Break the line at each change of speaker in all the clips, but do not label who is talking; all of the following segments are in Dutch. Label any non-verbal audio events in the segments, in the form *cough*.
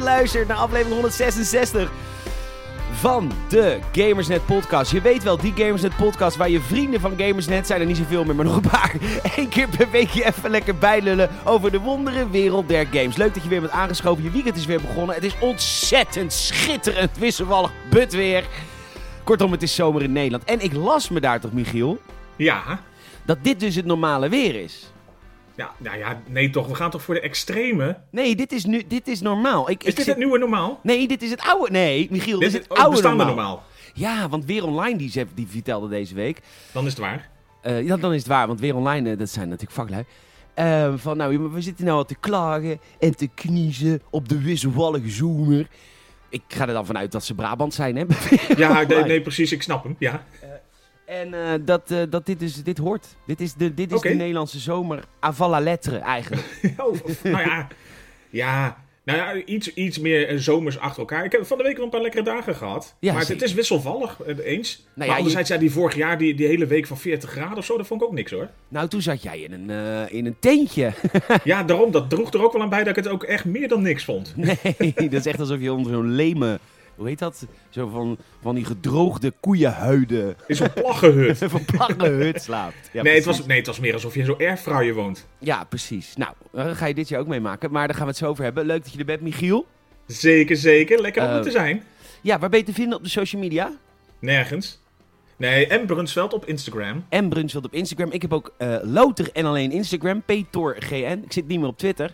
luistert naar aflevering 166 van de Gamersnet Podcast. Je weet wel, die Gamersnet Podcast waar je vrienden van Gamersnet zijn er niet zoveel meer, maar nog een paar. *laughs* Eén keer per week je even lekker bijlullen over de wondere wereld der games. Leuk dat je weer bent aangeschoven. Je weekend is weer begonnen. Het is ontzettend schitterend wisselvallig but weer. Kortom, het is zomer in Nederland. En ik las me daar toch, Michiel,
Ja.
dat dit dus het normale weer is.
ja. Nou ja, nee toch. We gaan toch voor de extreme?
Nee, dit is, nu, dit is normaal. Ik,
Is
ik
dit
zit-
het nieuwe normaal?
Nee, dit is het oude. Nee, Michiel, dit, is het
oh,
oude
bestaande
normaal. Ja, want Weer Online die, ze- die vertelde deze week.
Dan is het
*laughs*
waar.
Eh, ja, dan is het waar, want Weer Online, eh, dat zijn natuurlijk vaklui. Eh, van nou, ja, maar we zitten nou al te klagen en te kniezen op de wisselvallige zomer. Ik ga er dan vanuit dat ze Brabant zijn, *laughs* hè?
Ja, nee,
Online.
nee, precies. Ik snap hem. Ja. *laughs*
En eh, dat, eh, dat dit dus, dit hoort. Dit is de, dit is
Oké.
de Nederlandse zomer avant la lettre eigenlijk.
Of- of- nou ja. Ja. Nou ja, iets, iets meer eh, zomers achter elkaar. Ik heb van de week wel een paar lekkere dagen gehad.
Ja,
maar
zeker.
het,
Nou
het is wisselvallig eh, eens. maar
ja,
anderzijds, ja, die vorig jaar, die, die hele week van 40 graden of zo, dat vond ik ook niks
*laughs*
hoor.
nou, toen zat jij in een, eh, in een tentje.
ja, daarom, dat droeg er ook wel aan bij dat ik het ook echt meer dan niks
*laughs*
vond.
Nee, dat is echt alsof je onder zo'n leme... Hoe heet dat? Zo van, van die gedroogde koeienhuiden. *laughs*
In zo'n plaggenhut.
Van plakke hut slaapt. Ja,
nee, het
precies.
was, nee, het was meer alsof je in zo'n airfryer woont.
Ja, precies. Nou, daar ga je dit jaar ook meemaken. Maar daar gaan we het zo over hebben. Leuk dat je er bent, Michiel.
Zeker, zeker. Lekker om er
Eh,
te zijn.
Ja, waar ben je te vinden op de social media?
Nergens. Nee, en Brunsveld op Instagram.
En Brunsveld op Instagram. Ik heb ook eh Louter en alleen Instagram. PetorGN. Ik zit niet meer op Twitter.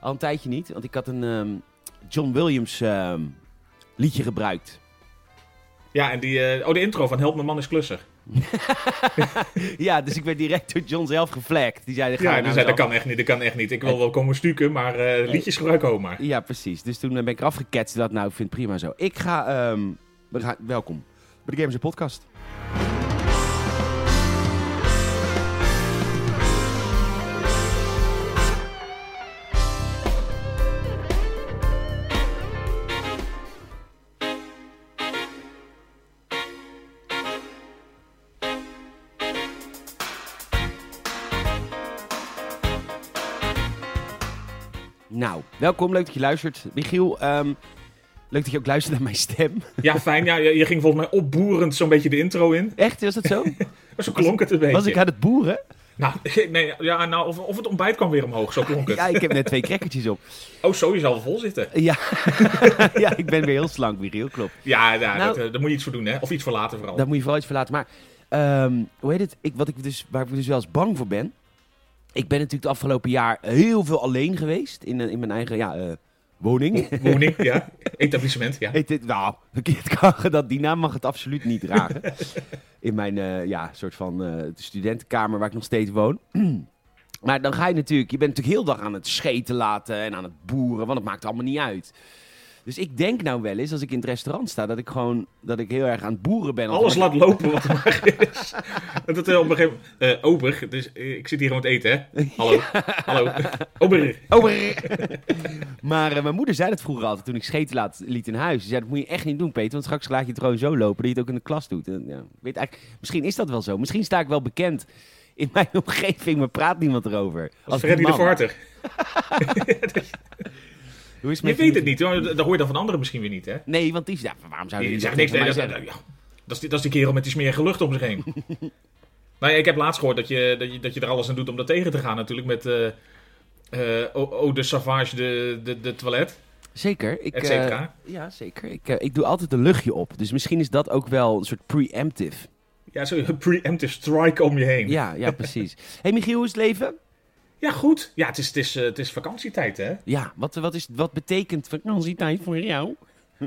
Al een tijdje niet. Want ik had een ehm, John Williams ehm, liedje gebruikt.
Ja, en die... eh, oh, de intro van Help mijn man is klusser.
Ja, dus ik werd direct door John zelf geflagd. Die zei,
Ja,
ja, nou,
die zei, dat kan echt niet, dat kan echt niet. Ik wil wel komen stuken, maar eh, liedjes gebruiken ook maar.
Ja, precies. Dus toen eh, ben ik afgeketst. Dat nou, ik vind het prima zo. Ik ga... ehm, we gaan, welkom bij de Gamers Podcast. Nou, welkom. Leuk dat je luistert. Michiel, ehm, leuk dat je ook luistert naar mijn stem.
Ja, fijn. Ja, je, je ging volgens mij opboerend zo'n beetje de intro in.
Echt, was *laughs* dat zo?
Maar zo klonk het een beetje.
Was ik aan het *laughs* boeren?
Nou, *laughs* nee, ja, nou of, of het ontbijt kwam weer omhoog, zo klonk het.
Ja, ik heb net twee crackertjes op.
Oh, zo, je zal wel vol zitten.
*laughs* Ja, *laughs* ja ik ben weer heel slank, Michiel, klopt.
Ja, ja
Nou-
dat, eh, daar moet je iets voor doen, hè. Of iets voor later vooral.
Daar moet je vooral iets voor laten. Maar ehm, hoe heet het? Ik, wat ik dus, waar ik dus wel eens bang voor ben. Ik ben natuurlijk het afgelopen jaar heel veel alleen geweest. In, eh, in mijn eigen ja, eh, woning.
Woning, ja. Etablissement,
*laughs*
ja.
Heet dit, nou, verkeerd kan dat die naam mag het absoluut niet
*laughs*
dragen. In mijn eh, ja, soort van eh, studentenkamer waar ik nog steeds woon. *clears throat* maar dan ga je natuurlijk, je bent natuurlijk heel dag aan het scheten laten en aan het boeren, want het maakt allemaal niet uit. Dus ik denk nou wel eens, als ik in het restaurant sta, dat ik gewoon dat ik heel erg aan het boeren ben.
Alles laat lopen wat er maar is. Dat eh, op een gegeven moment... eh, ober, dus, eh, ik zit hier gewoon te eten, hè. Hallo, hallo. Ober.
Oh, brrr. maar *laughs* eh, mijn moeder zei dat vroeger altijd toen ik scheten laat, liet in huis. Ze zei, dat moet je echt niet doen, Peter, want straks laat je het gewoon zo lopen dat je het ook in de klas doet. En, ja, ik weet eigenlijk, misschien is dat wel zo. Misschien sta ik wel bekend in mijn *laughs* omgeving, maar praat niemand erover.
Als
die
Freddy de
man.
Varter.
Hoe is
Je
met
weet het niet, hoor. dat hoor je dan van anderen misschien weer niet, hè?
Nee, want die ja, waarom zou je
Die
dit
zegt
tegen
niks. Nee,
mij
dat, dat,
zeggen?
ja, dat is die, dat is die kerel met die smerige lucht om zich
*laughs*
heen. nou ja, ik heb laatst gehoord dat je, dat, je, dat je er alles aan doet om dat tegen te gaan natuurlijk met... eh eh, oh, oh, de savage, de, de, de toilet,
Zeker. Ik,
et
eh,
cetera.
ja, zeker. Ik, eh, ik doe altijd een luchtje op. Dus misschien is dat ook wel een soort preemptive.
Ja, zo'n *laughs* preemptive strike om je heen. Ja,
Ja, ja, precies.
*laughs*
hey Michiel, hoe is het leven?
goed. Ja, het is, het, is, eh, het is vakantietijd, hè?
Ja, wat, wat, is, wat betekent vakantietijd voor jou?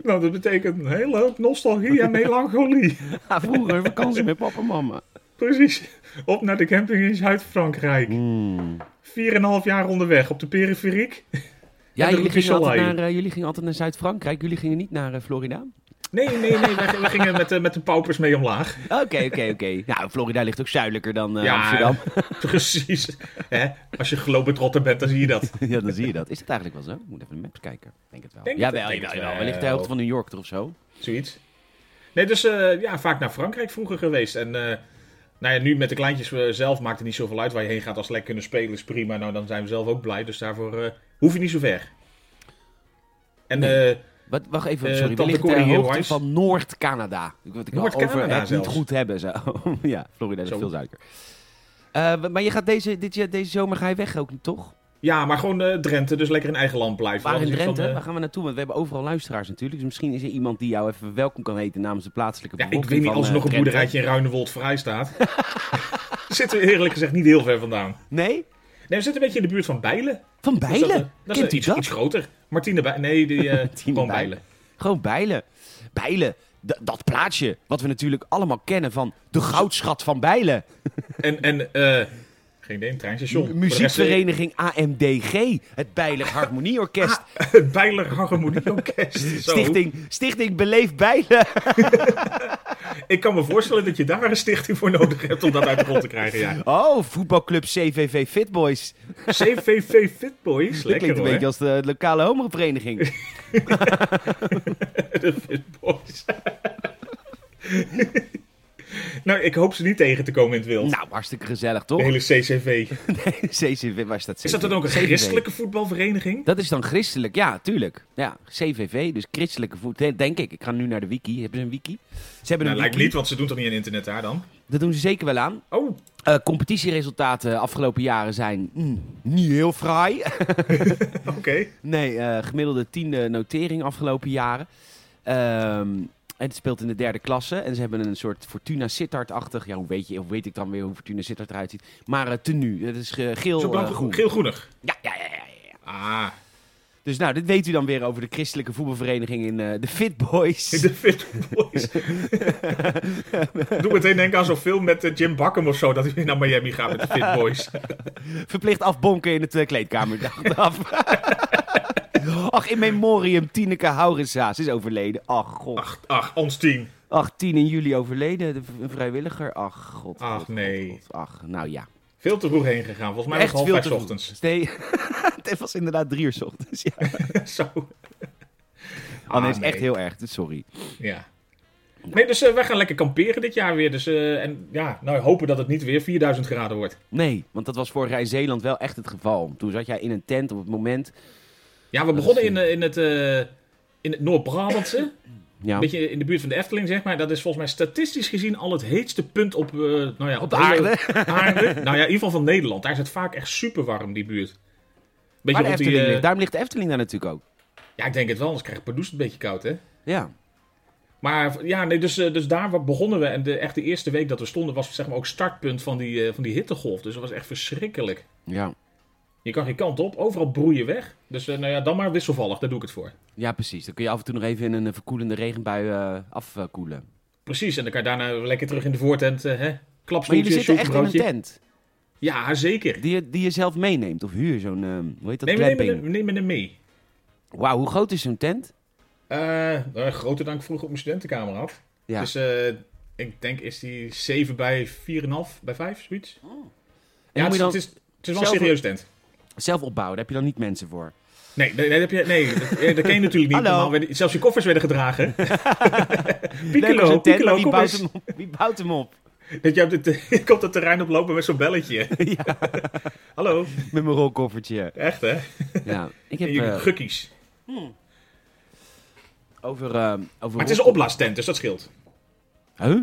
Nou, dat betekent een hele hoop nostalgie en melancholie. *laughs*
Ja, vroeger vakantie met papa en mama.
Precies. Op naar de camping in Zuid-Frankrijk.
Hmm.
Vier en een half jaar onderweg op de periferiek.
Ja,
En de
jullie
Ruby
gingen, altijd
Soleil.
naar, eh, jullie gingen altijd naar Zuid-Frankrijk. Jullie gingen niet naar eh, Florida?
Nee, nee, nee. We, we gingen met, de- met de paupers mee omlaag.
Oké, oké,
*laughs*
oké. Nou, Florida ligt ook zuidelijker dan eh,
Ja. *laughs*
Amsterdam. *laughs*
Precies. Hè? Als je globetrotter bent, dan zie je dat.
ja, dan zie je dat. Is dat eigenlijk wel zo? Ik moet even de maps kijken. Ik Denk het wel.
Denk
ja,
het-
wel,
denk
ja,
het
wel.
wel.
Wellicht de helft van New York er of zo.
Zoiets. Nee, dus eh, ja, vaak naar Frankrijk vroeger geweest. En eh, nou ja, nu met de kleintjes eh, zelf maakt het niet zoveel uit waar je heen gaat. Als ze lekker kunnen spelen is prima. Nou, dan zijn we zelf ook blij. Dus daarvoor eh, hoef je niet zo ver. En
Nee.
eh,
Wat, wacht even,
Eh,
sorry. We
Tante
liggen
Corrie
ter hoogte
Airways.
van Noord-Canada. Ik wil het wel
Noord-Canada
over het niet
zelfs.
goed hebben. Zo. *laughs* ja, Florida is
Zo.
veel zuiker. Eh, maar je gaat deze, dit, jaar- deze zomer ga je weg ook, toch?
ja, maar gewoon eh, Drenthe, dus lekker in eigen land blijven.
Waar in
Anders is het
Drenthe?
dan, eh,
Waar gaan we naartoe? Want we hebben overal luisteraars natuurlijk. Dus misschien is er iemand die jou even welkom kan heten namens de plaatselijke
Ja,
bevolking.
ik weet niet,
van,
als er
eh,
nog een
Drenthe.
boerderijtje in Ruinewold vrij
*laughs*
staat. zitten we eerlijk gezegd niet heel ver vandaan.
Nee?
Nee, we zitten een beetje in de buurt van Bijlen.
Van
Dus dat, eh,
Bijlen?
Dat is
Kent
eh,
u
iets,
dat?
iets groter. Martine Bijlen. Nee, die,
*laughs*
eh
Martine
gewoon
Bijlen.
Bijlen.
Gewoon Bijlen. Bijlen. D- dat plaatsje. Wat we natuurlijk allemaal kennen van de goudschat van Bijlen.
En, en eh, geen idee, een treinstation.
M-
Voor de rest, eh,
Muziekvereniging AMDG. Het Bijlig Harmonieorkest.
*laughs* Het Bijler
*laughs*
Harmonieorkest. Ah, Zo.
Stichting, stichting Beleef Bijlen.
Ik kan me voorstellen dat je daar een stichting voor nodig hebt om dat uit de grond te
*laughs*
krijgen. Ja.
Oh, voetbalclub CVV Fitboys.
CVV Fitboys.
Dat
Lekker
klinkt een
hoor.
beetje als de lokale
*laughs*
homovereniging.
De Fitboys. nou, ik hoop ze niet tegen te komen in het wild.
nou, hartstikke gezellig,
De
toch?
hele CCV.
*laughs* CCV, waar staat CCV?
Is dat dan ook een
CVV?
christelijke voetbalvereniging?
Dat is dan christelijk, ja, tuurlijk. Ja, CVV, dus christelijke voet, denk ik. Ik ga nu naar de wiki. Hebben ze een wiki? Ze hebben
Nou,
een
lijkt
wiki.
me niet, want ze doen toch niet aan internet daar dan?
Dat doen ze zeker wel aan.
Oh, *laughs*
Eh, competitieresultaten afgelopen jaren zijn mm, niet heel fraai. *laughs*
oké.
Nee, eh, gemiddelde tiende notering afgelopen jaren. Ehm, en het speelt in de derde klasse. En ze hebben een soort Fortuna Sittard-achtig... Ja, hoe weet, je, hoe weet ik dan weer hoe Fortuna Sittard eruit ziet? Maar eh, tenue. Dat is eh, geel,
Zo
eh,
blank,
groen.
geel-groenig.
Ja, ja, ja, ja, ja.
Ah, *laughs*
Dus nou, dit weet u dan weer over de christelijke voetbalvereniging in eh, de Fit Boys.
*laughs* de *laughs* Fitboys. Doe meteen denken aan zo'n film met eh, Jim Buckham of zo, dat hij weer naar Miami gaat met de *laughs* Fitboys.
Verplicht afbonken in het eh, kleedkamer. Dacht
*laughs*
af. Ach, in memoriam, Tineke Haurensaas is overleden. Ach, god.
Ach, ach, ons team.
18 in juli overleden, de v- een vrijwilliger. Ach, god.
Ach,
god, god,
nee.
god. Ach, nou ja.
Veel te vroeg heen gegaan. Volgens mij was
Echt
het half
veel
vijf
te
's
vroeg.
ochtends.
Nee, *laughs* het was inderdaad drie uur 's ochtends. Ja.
*laughs* Zo.
Oh, nee, het is
Ah,
echt heel erg. Sorry.
Ja. Nee, dus eh, wij gaan lekker kamperen dit jaar weer. Dus, eh, en ja, nou hopen dat het niet weer 4000 graden wordt.
Nee, want dat was vorig jaar in Zeeland wel echt het geval. Toen zat jij in een tent op het moment.
Ja, we begonnen in, eh, in het, eh, in het Noord-Brabantse.
Ja.
Een beetje in de buurt van de Efteling, zeg maar. Dat is volgens mij statistisch gezien al het heetste punt op, eh, nou ja,
Op de
hele-
aarde.
*laughs*
*laughs*
aarde. Nou ja, in ieder geval van Nederland. Daar is het vaak echt super warm, die buurt.
Maar
Beetje
de
rond die,
Efteling
eh,
ligt. Daarom ligt de Efteling daar natuurlijk ook.
Ja, ik denk het wel, anders krijgt Pardoes het een beetje koud, hè?
Ja.
Maar ja, nee, dus, eh, dus daar wa- begonnen we. En de, echt de eerste week dat we stonden was zeg maar ook startpunt van die, eh, van die hittegolf. Dus dat was echt verschrikkelijk.
Ja.
Je kan geen kant op, overal broeien weg. Dus eh, nou ja, dan maar wisselvallig, daar doe ik het voor.
Ja, precies. Dan kun je af en toe nog even in een eh, verkoelende regenbui eh, afkoelen.
Precies, en dan kan je daarna lekker terug in de voortent. eh hè?
Maar
Klapstoeltje,
jullie zitten echt in een
zoetbroodje.
tent.
Ja, zeker.
Die je, die je zelf meeneemt. Of huur zo'n, eh, hoe heet dat,
Nee, we nemen, hem,
glamping.
we nemen hem mee.
Wauw, hoe groot is zo'n tent?
Eh, nou, groter dan ik vroeger op mijn studentenkamer had.
Ja.
Dus eh, ik denk is die 7 bij 4,5 bij 5, zoiets.
en
Ja,
moet je
het, is-
dan
het is, het is wel een
zelf-
serieus tent.
zelf opbouwen, daar heb je dan niet mensen voor.
Nee, nee, nee, dat, heb je, nee dat, eh, dat ken je natuurlijk niet.
Hallo.
Normaal werden- zelfs je koffers werden
*laughs*
gedragen. *laughs*
Leuk om
Piccolo,
zo'n tent, maar
Piccolo,
wie
kom
bouwt,
eens.
hem op? wie bouwt hem op?
Dat je op het, *laughs* je komt het terrein oplopen met zo'n belletje.
*laughs* Ja.
Hallo,
Met mijn rolkoffertje.
echt hè?
Ja, ik heb
En *laughs* je
eh,
gukkies.
over, eh, over...
Maar het is een opblaastent, dus dat scheelt.
Huh?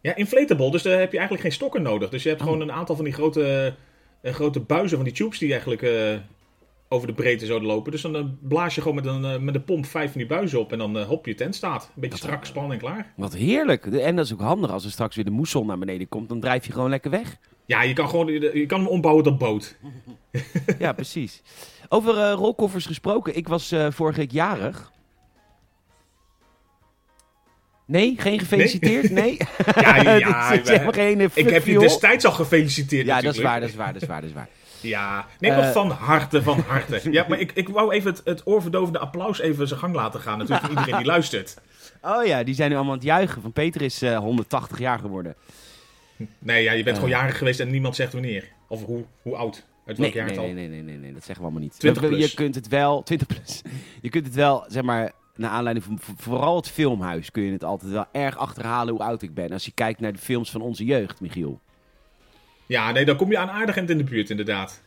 Ja, inflatable, dus daar heb je eigenlijk geen stokken nodig. Dus je
Oh.
hebt gewoon een aantal van die grote, eh, grote buizen, van die tubes die eigenlijk eh, over de breedte zouden lopen. Dus dan eh, blaas je gewoon met een, eh, met een pomp vijf van die buizen op en dan eh, hop je tent staat. Een beetje strak,
eh,
spanning, klaar.
Wat heerlijk. En dat is ook handig als er straks weer de moesson naar beneden komt. Dan drijf je gewoon lekker weg.
Ja, je kan, gewoon, je, je kan hem ombouwen
*laughs*
tot boot.
Ja, precies. Over eh, rolkoffers gesproken. Ik was eh, vorige week jarig. Nee, geen gefeliciteerd? Nee? *laughs*
Ja, *laughs* ja,
Dit is helemaal
we-
geen eh,
Ik heb je
fuck, joh.
destijds al gefeliciteerd.
Ja, dat is
natuurlijk.
waar, dat is waar, dat is waar, dat is waar.
Ja, nee,
Eh,
maar van
*laughs*
harte, van harte. ja, maar ik, ik wou even het, het oorverdovende applaus even zijn gang laten gaan. Natuurlijk voor iedereen
*laughs*
die luistert.
Oh ja, die zijn nu allemaal aan het juichen. Van Peter is eh, 180 jaar geworden.
Nee, ja, je bent
Eh.
gewoon jarig geweest en niemand zegt wanneer. Of hoe, hoe oud. Uit welk
Nee,
jaar
nee,
het al.
nee, nee, nee, nee, nee, dat zeggen we allemaal niet.
20
We- we-
plus.
Je kunt het wel, *laughs* 20 plus. Je kunt het wel, zeg maar, naar aanleiding van v- vooral het filmhuis, kun je het altijd wel erg achterhalen hoe oud ik ben. Als je kijkt naar de films van onze jeugd, Michiel.
Ja, nee, dan kom je aan aardig end in de buurt inderdaad.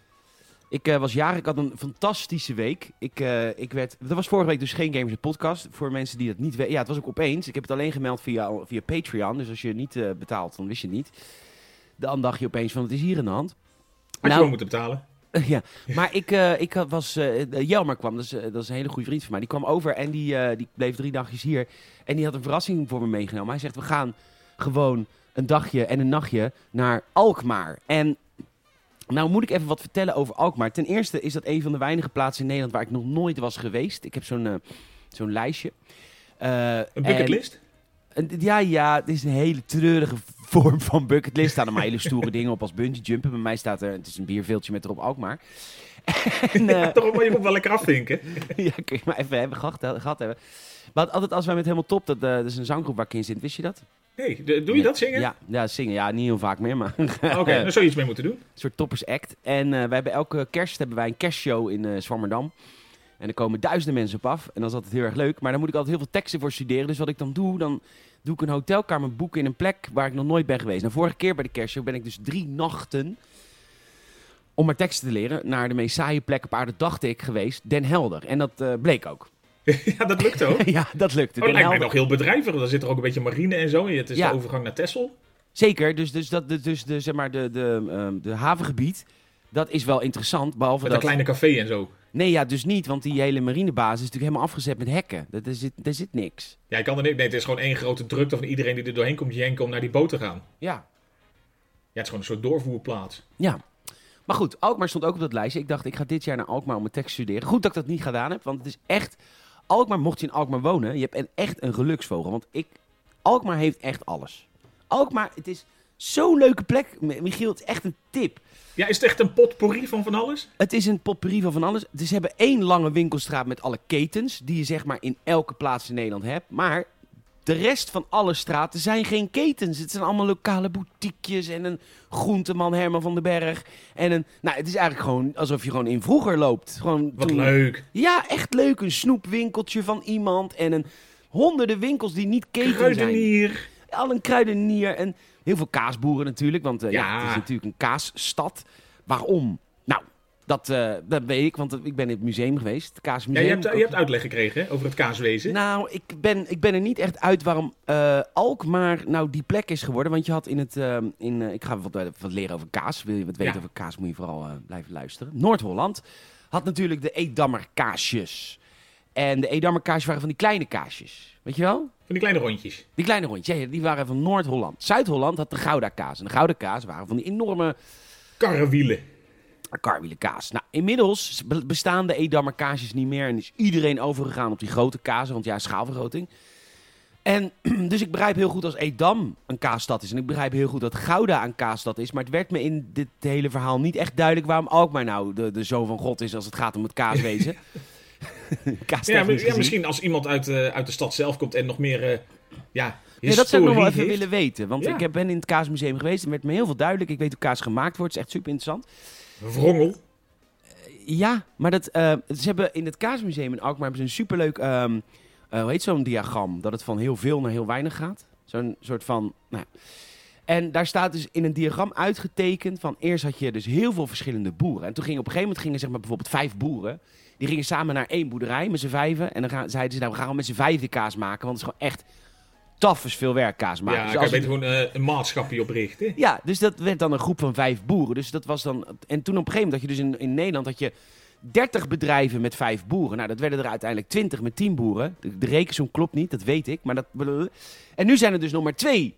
Ik eh, was jarig, ik had een fantastische week. Ik, eh, ik werd, dat was vorige week dus geen Gamers in Podcast. Voor mensen die dat niet weten. Ja, het was ook opeens. Ik heb het alleen gemeld via, via Patreon. Dus als je niet eh, betaalt, dan wist je het niet. Dan dacht je opeens van, het is hier in de hand.
Had je
Nou.
wel moeten betalen.
*laughs* Ja, maar ik, eh, ik had- was. eh, eh, Jelmer kwam, dat is, eh, dat is een hele goede vriend van mij. Die kwam over en die, eh, die bleef drie dagjes hier. En die had een verrassing voor me meegenomen. Hij zegt: We gaan gewoon een dagje en een nachtje naar Alkmaar. En. Nou moet ik even wat vertellen over Alkmaar. Ten eerste is dat een van de weinige plaatsen in Nederland waar ik nog nooit was geweest. Ik heb zo'n eh, zo'n lijstje. Eh,
Een
en-
bucketlist?
en- Ja, ja, het is een hele treurige vorm van bucketlist. Er staan allemaal hele
*laughs*
stoere dingen op als bungee jumpen. Bij mij staat er, het is een bierveeltje met erop Alkmaar. En, eh,
*laughs* Ja, toch, maar je moet wel lekker afvinken.
*laughs* ja, kun je maar even hebben, gehad, eh, gehad hebben. Maar altijd als wij met Helemaal Top, dat, eh, dat is een zanggroep waar ik in zit, wist je dat?
Nee, de- doe je
Ja.
dat zingen?
Ja, ja, zingen. Ja, niet heel vaak meer, maar *laughs*
Oké, daar zou je iets mee moeten doen. *laughs*
een soort toppersact. En eh, wij hebben elke kerst hebben wij een kerstshow in eh Zwammerdam. En er komen duizenden mensen op af. En dat is altijd heel erg leuk. Maar daar moet ik altijd heel veel teksten voor studeren. Dus wat ik dan doe, dan doe ik een hotelkamer boeken in een plek waar ik nog nooit ben geweest. Nou, vorige keer bij de kerstshow ben ik dus drie nachten, om maar teksten te leren, naar de meest saaie plek op aarde, dacht ik, geweest. Den Helder. En dat eh, bleek ook.
ja, dat
*laughs*
lukt ook.
ja, dat lukte.
Oh,
Den
lijkt mij
Helder.
nog heel bedrijvig. want Er zit er ook een beetje marine en zo. in. Het is
Ja.
de overgang naar Texel.
Zeker. Dus, dus, dat, dus, dus de, zeg maar, de, de, ehm, de havengebied, dat is wel interessant. Behalve
Met
dat...
een kleine café en zo.
Nee, ja, dus niet, want die hele marinebasis is natuurlijk helemaal afgezet met hekken. Dat- Daar zit, daar zit niks.
Ja, ik kan er niet. Nee, het is gewoon één grote drukte van iedereen die er doorheen komt jenken om naar die boot te gaan.
Ja.
Ja, het is gewoon een soort doorvoerplaats.
Ja. Maar goed, Alkmaar stond ook op dat lijstje. Ik dacht, ik ga dit jaar naar Alkmaar om mijn tekst te studeren. Goed dat ik dat niet gedaan heb, want het is echt... Alkmaar, mocht je in Alkmaar wonen, je hebt een, echt een geluksvogel. Want ik... Alkmaar heeft echt alles. Alkmaar, het is zo'n leuke plek. M- Michiel, het is echt een tip.
Ja, is het echt een potpourri van van alles?
Het is een potpourri van van alles. Dus ze hebben één lange winkelstraat met alle ketens. Die je zeg maar in elke plaats in Nederland hebt. Maar de rest van alle straten zijn geen ketens. Het zijn allemaal lokale boutiquejes. En een groenteman Herman van den Berg. En een. Nou, het is eigenlijk gewoon alsof je gewoon in vroeger loopt. Gewoon
Wat
toen-
leuk.
Ja, echt leuk. Een snoepwinkeltje van iemand. En een. Honderden winkels die niet keten zijn.
Kruidenier.
Al een kruidenier. En heel veel kaasboeren natuurlijk. Want eh, ja.
Ja.
het is natuurlijk een kaasstad. Waarom? Nou, dat, eh, dat weet ik. Want eh, ik ben in het museum geweest. Het
Ja,
kaasmuseum.
je hebt, je hebt uitleg gekregen hè, over het kaaswezen.
Nou, ik ben, ik ben er niet echt uit waarom eh, Alkmaar nou die plek is geworden. Want je had in het... ehm, in, eh, ik ga wat, wat leren over kaas. Wil je wat weten
Ja.
over kaas, moet je vooral eh, blijven luisteren. Noord-Holland had natuurlijk de Edammer kaasjes. En de Edammer kaasjes waren van die kleine kaasjes. Weet je wel?
Van die kleine rondjes.
Die kleine rondjes, ja, ja, die waren van Noord-Holland. Zuid-Holland had de Gouda kaas. En de Gouda kaas waren van die enorme
Karrewielen.
karwiele kaas. Nou, inmiddels be- bestaan de Edammer kaasjes niet meer. En is iedereen overgegaan op die grote kazen. Want ja, schaalvergroting. En *clears throat* dus ik begrijp heel goed als Edam een kaasstad is. En ik begrijp heel goed dat Gouda een kaasstad is. Maar het werd me in dit hele verhaal niet echt duidelijk waarom Alkmaar nou de, de zoon van God is als het gaat om het
*laughs*
kaaswezen. Kaastechnisch
Ja, maar- ja,
gezien.
misschien als iemand uit, eh, uit de stad zelf komt en nog meer eh, ja,
Ja, dat zou ik nog wel even
historie
willen
heeft.
weten. Want
Ja.
ik heb- ben in het kaasmuseum geweest. en werd me heel veel duidelijk. Ik weet hoe kaas gemaakt wordt. Het is echt super interessant.
Wrongel.
Ja, maar dat, eh, ze hebben in het kaasmuseum in Alkmaar hebben ze een superleuk... ehm, eh, hoe heet zo'n diagram? Dat het van heel veel naar heel weinig gaat. Zo'n soort van... Nou, ja. en daar staat dus in een diagram uitgetekend van... Eerst had je dus heel veel verschillende boeren. En toen gingen op een gegeven moment gingen zeg maar bijvoorbeeld vijf boeren... Die gingen samen naar één boerderij met z'n vijven. En dan gaan, zeiden ze, nou, we gaan gewoon met z'n vijf de kaas maken. Want het is gewoon echt taf is veel werk kaas maken.
ja,
Dus
kan
als
je
het-
beter gewoon eh, een maatschappij oprichten.
ja, dus dat werd dan een groep van vijf boeren. Dus dat was dan... En toen op een gegeven moment had je dus in, in Nederland had je 30 bedrijven met vijf boeren. Nou, dat werden er uiteindelijk 20 met 10 boeren. De, de rekensom klopt niet, dat weet ik. Maar dat... En nu zijn er dus nog maar twee.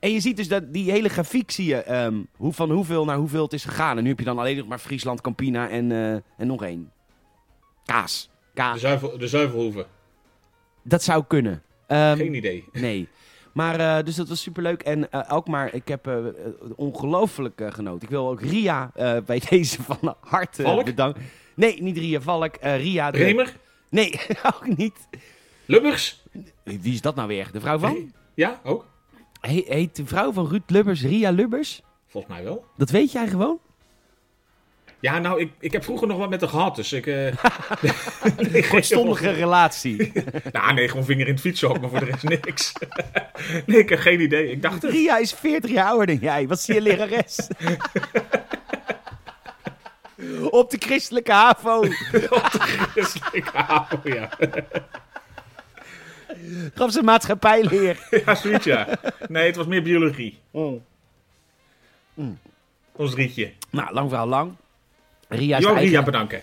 En je ziet dus dat die hele grafiek zie je ehm, hoe, van hoeveel naar hoeveel het is gegaan. En nu heb je dan alleen nog maar Friesland, Campina en, eh, en nog één. Kaas.
De,
Kaas.
zuivel, de zuivelhoeven.
Dat zou kunnen. Ehm,
Geen idee.
Nee. Maar, eh, dus dat was superleuk. En eh Alkmaar, ik heb eh, eh, ongelooflijk eh, genoten. Ik wil ook Ria eh, bij *laughs* deze van harte
Valk?
bedanken. Nee, niet Ria Valk. eh, Ria de...
Bremer?
Nee, *laughs* ook niet.
Lubbers?
Wie is dat nou weer? De vrouw van?
Ja, ook.
He- heet de vrouw van Ruud Lubbers Ria Lubbers?
Volgens mij wel.
Dat weet jij gewoon?
Ja, nou, ik, ik heb vroeger nog wat met haar gehad, dus
*laughs*
ik... eh *laughs* ik
Een stommige *laughs* relatie.
Nou, nee, gewoon vinger in het fietsen ook, maar voor de rest niks. *laughs* nee, ik heb geen idee. Ik dacht het.
Ria is 40 jaar ouder dan jij. Wat zie je lerares? op de christelijke HAVO.
Christelijke havo, ja.
Gaf ze maatschappijleer.
*laughs* Ja, zoiets, ja. Nee, het was meer biologie. Ons rietje.
Nou, lang verhaal lang. Ria is, de
Jo, Ria,
eigenaar,
bedanken.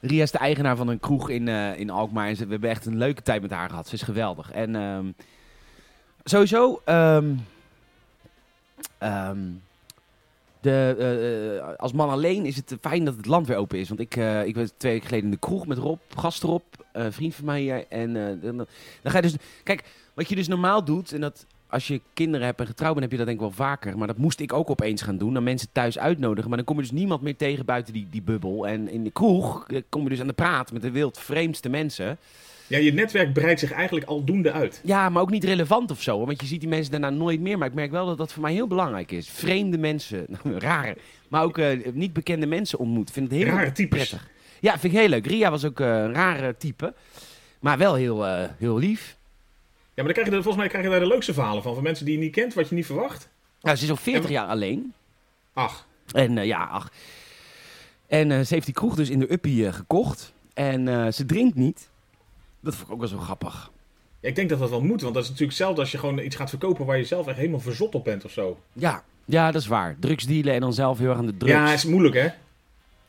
Ria is de eigenaar van een kroeg in, eh, in Alkmaar. En ze- we hebben echt een leuke tijd met haar gehad. Ze is geweldig. En ehm, sowieso... ehm, ehm, de, eh, eh, als man alleen is het fijn dat het land weer open is. Want ik, eh, ik was twee weken geleden in de kroeg met Rob, gast Rob, eh, vriend van mij hier. En eh, dan, dan ga je dus... Kijk, wat je dus normaal doet, en dat als je kinderen hebt en getrouwd bent, heb je dat denk ik wel vaker. Maar dat moest ik ook opeens gaan doen. Dan mensen thuis uitnodigen. Maar dan kom je dus niemand meer tegen buiten die, die bubbel. En in de kroeg eh, kom je dus aan de praat met de wildvreemdste mensen.
Ja, je netwerk breidt zich eigenlijk aldoende uit.
Ja, maar ook niet relevant of zo. hoor, Want je ziet die mensen daarna nooit meer. Maar ik merk wel dat dat voor mij heel belangrijk is. Vreemde mensen, *laughs* nou, rare, maar ook eh, niet bekende mensen ontmoet. Ik Vind het heel
Rare types.
prettig. Ja, vind ik heel leuk. Ria was ook eh, een rare type. Maar wel heel, eh, heel lief.
Ja, maar dan krijg je, er- volgens mij krijg je daar de leukste verhalen van. Van mensen die je niet kent, wat je niet verwacht.
Nou, ze is al 40
En-
jaar alleen.
Ach,
En eh, ja, ach. En eh, ze heeft die kroeg dus in de uppie eh, gekocht. En eh, ze drinkt niet. Dat vond ik ook wel zo grappig.
ja, ik denk dat dat wel moet. Want dat is natuurlijk hetzelfde als je gewoon iets gaat verkopen waar je zelf echt helemaal verzot op bent of zo.
Ja, ja dat is waar. Drugs dealen en dan zelf heel erg aan de drugs.
Ja, is moeilijk hè.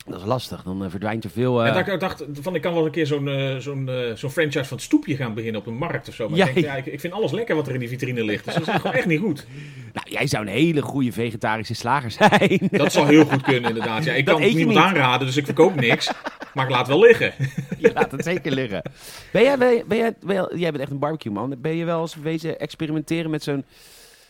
Dat is lastig. Dan eh, verdwijnt er veel... eh,
En dat ik ook dacht, van, ik kan wel eens een keer zo'n eh, zo'n eh, zo'n franchise van het stoepje gaan beginnen op een markt of zo. Maar
Ja.
ik, denk, ja, ik, ik vind alles lekker wat er in die vitrine ligt. Dus dat is gewoon echt niet goed.
Nou, jij zou een hele goede vegetarische slager
*laughs*
zijn.
Dat zou heel goed kunnen inderdaad. Ja, ik
Dat
kan
eet
het
je
niemand
niet.
aanraden, dus ik verkoop niks. Maar ik laat wel liggen.
Je laat het zeker liggen. Ben jij, ben, jij- ben jij, ben jij, jij bent echt een barbecue man. Ben je wel eens wezen experimenteren met zo'n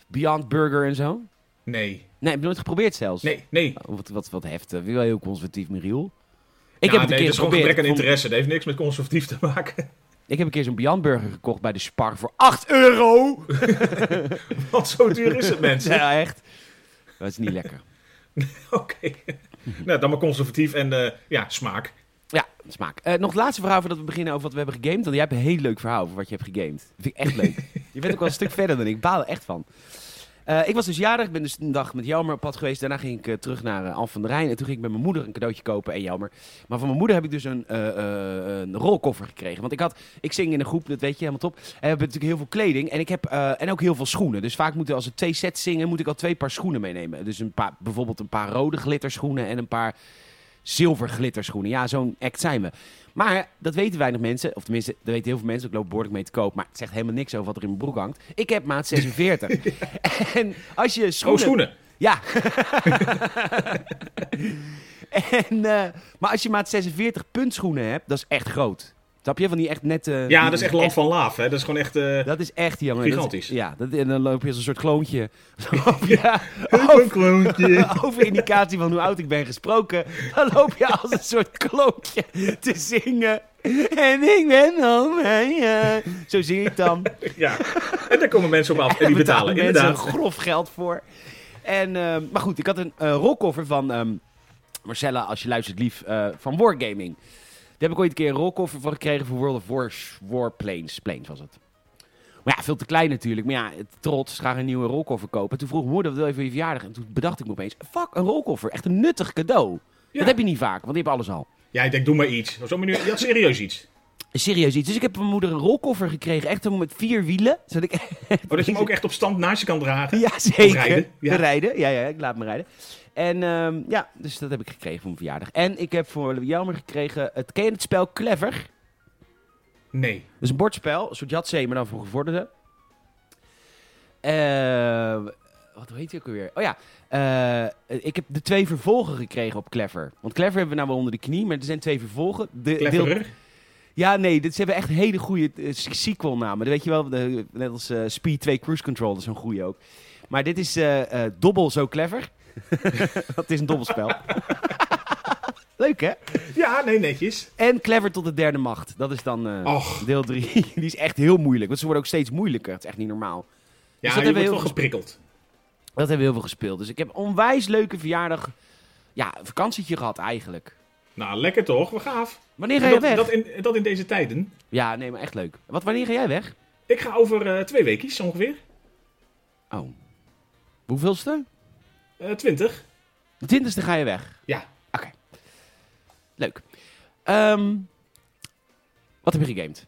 Beyond Burger en zo?
Nee,
Nee, heb je nooit geprobeerd zelfs?
nee, nee.
Oh, Wat, wat, wat heftig. Vind je wel heel conservatief, Michiel. Ik heb
Ja,
het een keer
nee, dat is gewoon
geprobeerd.
gebrek aan
Ik vond-
interesse. Dat heeft niks met conservatief te maken. *laughs*
Ik heb een keer zo'n Beyond Burger gekocht bij de Spar voor 8 euro.
Want zo duur is het, mensen.
Ja, echt. Dat is niet lekker.
*laughs* Oké. nou, dan maar conservatief en eh, ja, smaak.
Ja, smaak. Eh, nog het laatste verhaal voordat we beginnen over wat we hebben gegamed. Want jij hebt een heel leuk verhaal over wat je hebt gegamed. Dat vind ik echt leuk. je bent ook wel een stuk verder dan ik. Ik baal er echt van. Eh, ik was dus jarig. Ik ben dus een dag met Jelmer op pad geweest. Daarna ging ik eh, terug naar eh, Al van der Rijn. En toen ging ik met mijn moeder een cadeautje kopen en Jelmer. Maar van mijn moeder heb ik dus een, eh, eh, een rolkoffer gekregen. Want ik, had, ik zing in een groep, dat weet je helemaal top. En we hebben natuurlijk heel veel kleding. En, ik heb, eh, en ook heel veel schoenen. Dus vaak moeten als we twee sets zingen, moet ik al twee paar schoenen meenemen. Dus een paar, bijvoorbeeld een paar rode glitterschoenen en een paar zilver glitterschoenen. Ja, zo'n act zijn we. Maar dat weten weinig mensen, of tenminste, dat weten heel veel mensen. Ik loop behoorlijk mee te koop, maar het zegt helemaal niks over wat er in mijn broek hangt. Ik heb maat 46. En als je
Oh,
schoenen...
schoenen.
Ja. *laughs* en, eh, maar als je maat 46 puntschoenen hebt, dat is echt groot. Snap je? Van die echt nette...
Ja,
die-
dat is echt land van laaf. Hè. Dat is gewoon echt... eh,
Dat is echt, jongen. Dat is-
Gigantisch.
ja, dat, en dan loop je als een soort
*laughs*
kloontje. ja, *laughs* Oh,
Een kloontje. *laughs*
over indicatie van hoe oud ik ben gesproken. Dan loop je als een soort kloontje te zingen. En ik ben dan mijn... eh. Zo zing ik dan.
Ja. En daar komen mensen op af en die
*laughs* Daar
betalen.
mensen
Inderdaad.
grof geld voor. En, ehm, maar goed, ik had een eh rolkoffer van ehm, Marcella, als je luistert lief, eh, van Wargaming. Daar heb ik ooit een keer een rolkoffer van gekregen voor World of Wars, Warplanes. Planes was het. Maar ja, veel te klein natuurlijk. Maar ja, het trots, graag een nieuwe rolkoffer kopen. Toen vroeg mijn moeder, wat wil je voor je verjaardag? En toen bedacht ik me opeens, fuck, een rolkoffer. Echt een nuttig cadeau.
Ja.
Dat heb je niet vaak, want je hebt alles al.
Ja, ik denk, doe maar iets. Op zo'n manier, je had serieus iets.
Serieus iets. Dus ik heb van mijn moeder een rolkoffer gekregen. Echt een met vier wielen. Zodat ik
Oh, dat je hem ook echt op stand naast je kan dragen.
Ja, zeker.
rijden,
Rijden. Ja.
ja.
Ja, ja, ik laat me rijden. En ehm, ja, dus dat heb ik gekregen voor mijn verjaardag. En ik heb voor Jelmer gekregen het, ken je het spel Clever?
Nee.
Dat is een bordspel, een soort Jatzee, maar dan voor gevorderden. Ehm, wat heet die ook alweer? Oh ja, eh, ik heb de twee vervolgen gekregen op Clever. Want Clever hebben we nou wel onder de knie, maar er zijn twee vervolgen. De, deel-
Cleverer.
ja, nee, dit, ze hebben echt hele goede eh, sequel namen. Weet je wel, de- net als eh, Speed 2 Cruise Control, dat is zo'n goede ook. Maar dit is eh, eh, dobbel zo clever. *laughs* dat is een dobbelspel. *laughs* Leuk, hè?
Ja, nee, netjes.
En clever tot de derde macht. Dat is dan eh,
Och.
deel 3. *laughs* Die is echt heel moeilijk, want ze worden ook steeds moeilijker. Het is echt niet normaal.
Ja,
dat
je
hebben we
wordt
heel
wel
gespe-
geprikkeld.
Dat hebben we heel veel gespeeld. Dus ik heb een onwijs leuke verjaardag. Ja, een vakantietje gehad eigenlijk.
Nou, lekker toch? We gaaf.
Wanneer ga
En
je
Dat,
weg?
dat, in, dat in deze tijden.
Ja, nee, maar echt leuk. Wat, wanneer ga jij weg?
Ik ga over eh, twee weekjes ongeveer.
Oh. Hoeveelste?
Eh, twintig.
De twintigste ga je weg.
Ja.
Oké. Leuk. Ehm, wat heb je gegamed?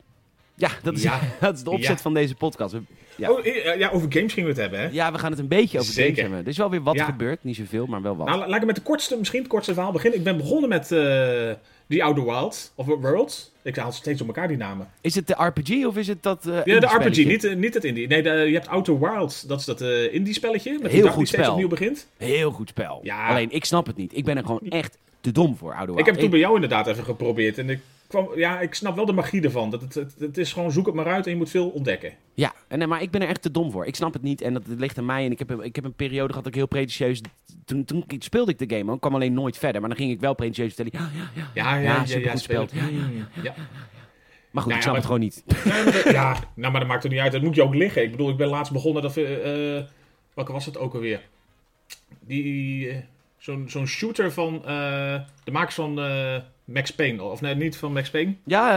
Ja, dat is,
Ja.
*laughs* dat is de opzet
Ja.
van deze podcast. We- Ja.
Oh, eh, ja, over games gingen we het hebben, hè?
Ja, we gaan het een beetje over games
Zeker.
hebben. Er is wel weer wat
Ja.
gebeurd. Niet zoveel, maar wel wat.
Nou, la- laat ik met de kortste, misschien het kortste verhaal beginnen. Ik ben begonnen met eh The Outer Wilds, of Worlds. Ik haal steeds op elkaar die namen.
is het de RPG of is het dat... eh,
Ja, de RPG,
indie-spelletje?
niet, eh, niet het indie. Nee, de- je hebt Outer Wilds, dat is dat eh, indie spelletje. Met
Heel
die dag
goed
die steeds
spel.
opnieuw begint.
Heel goed spel.
Ja.
Alleen, ik snap het niet. Ik ben er gewoon echt te dom voor, oude
Ik heb het toen bij jou inderdaad even geprobeerd. En ik, kwam, ja, ik snap wel de magie ervan. Dat het, het, het is gewoon zoek het maar uit en je moet veel ontdekken.
Ja, en, nee, maar ik ben er echt te dom voor. Ik snap het niet en dat, dat ligt aan mij. En ik heb, een- ik heb een periode gehad dat ik heel pretentieus... Toen, toen speelde ik de game ook, kwam alleen nooit verder. Maar dan ging ik wel pretentieus vertellen... Ja, ja, ja.
Ja, ja,
Ja,
ja, ja,
supergoed
speel het.
gespeeld. Ja, ja,
Ja.
Maar goed,
Nou ja,
ik snap
maar-
het gewoon
*laughs*
niet.
Ja, maar dat- ja, nou, maar dat maakt er niet uit. Dat moet je ook liggen. Ik bedoel, ik ben laatst begonnen dat we... eh, welke was het ook alweer? Die... eh, Zo'n zo'n shooter van eh, de makers van eh, Max Payne. Of nee, niet van Max Payne.
Ja,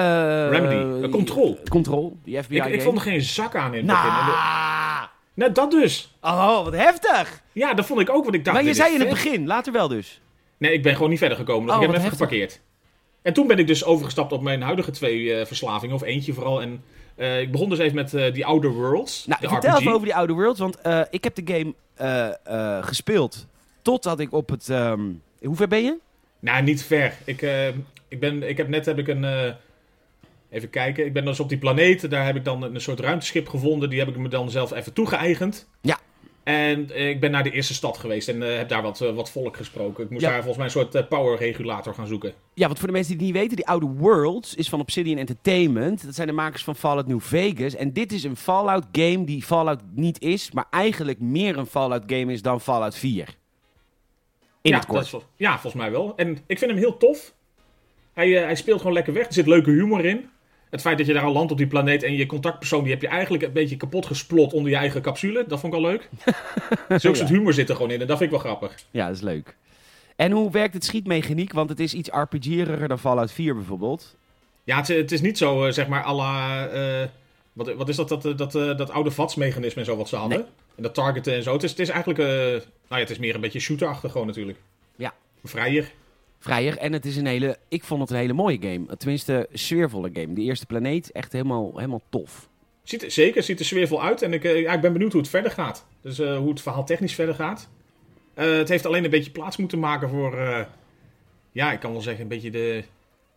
eh...
Remedy.
eh,
Control.
Control, die FBI
ik, ik vond er geen zak aan in het begin. En de-
Nou,
Nou, dat dus.
oh, wat heftig.
Ja, dat vond ik ook, want ik dacht...
maar je
dit
zei
is
in het
vet.
begin, later wel dus.
Nee, ik ben gewoon niet verder gekomen. Dus
Oh,
ik heb
wat
hem even
heftig.
geparkeerd. En toen ben ik dus overgestapt op mijn huidige twee eh, verslavingen. Of eentje vooral. En eh, ik begon dus even met eh die Outer Worlds.
Nou,
de
vertel
RPG.
even over die Outer Worlds, want eh, ik heb de game eh, eh, gespeeld totdat ik op het... ehm, hoe ver ben je?
Nou, niet ver. Ik, eh, ik, ben, ik heb net heb ik een... eh, even kijken. Ik ben dus op die planeet. Daar heb ik dan een soort ruimteschip gevonden. Die heb ik me dan zelf even toegeëigend.
Ja.
En eh, ik ben naar de eerste stad geweest. En eh, heb daar wat, eh, wat volk gesproken. Ik moest
Ja.
daar volgens mij een soort eh, power regulator gaan zoeken.
Ja, want voor de mensen die het niet weten, die oude Worlds is van Obsidian Entertainment. Dat zijn de makers van Fallout New Vegas. En dit is een Fallout game die Fallout niet is, maar eigenlijk meer een Fallout game is dan Fallout 4. In
ja,
het kort.
dat is vol- ja, volgens mij wel. En ik vind hem heel tof. Hij, eh, hij speelt gewoon lekker weg. Er zit leuke humor in. Het feit dat je daar al landt op die planeet en je contactpersoon die heb je eigenlijk een beetje kapot gesplot onder je eigen capsule. Dat vond ik al
*laughs*
leuk. Zulke soort humor zit er gewoon in en dat vind ik wel grappig.
Ja, dat is leuk. En hoe werkt het schietmechaniek? Want het is iets RPG'eriger dan Fallout 4 bijvoorbeeld.
Ja, het, het is niet zo, eh, zeg maar, à la... eh, wat, wat is dat, dat, eh, dat, eh, dat oude VATS-mechanisme en zo wat ze hadden? En dat targeten en zo. Het is, het is eigenlijk, eh, nou ja, het is meer een beetje shooter-achtig gewoon natuurlijk.
Ja.
Vrijer.
Vrijer. En het is een hele, ik vond het een hele mooie game. Tenminste, sfeervolle game. Die eerste planeet, echt helemaal, helemaal tof.
Ziet, er- zeker, ziet er sfeervol uit. En ik, eh, ja, ik ben benieuwd hoe het verder gaat. Dus eh, hoe het verhaal technisch verder gaat. Eh, het heeft alleen een beetje plaats moeten maken voor... eh, ja, ik kan wel zeggen, een beetje de,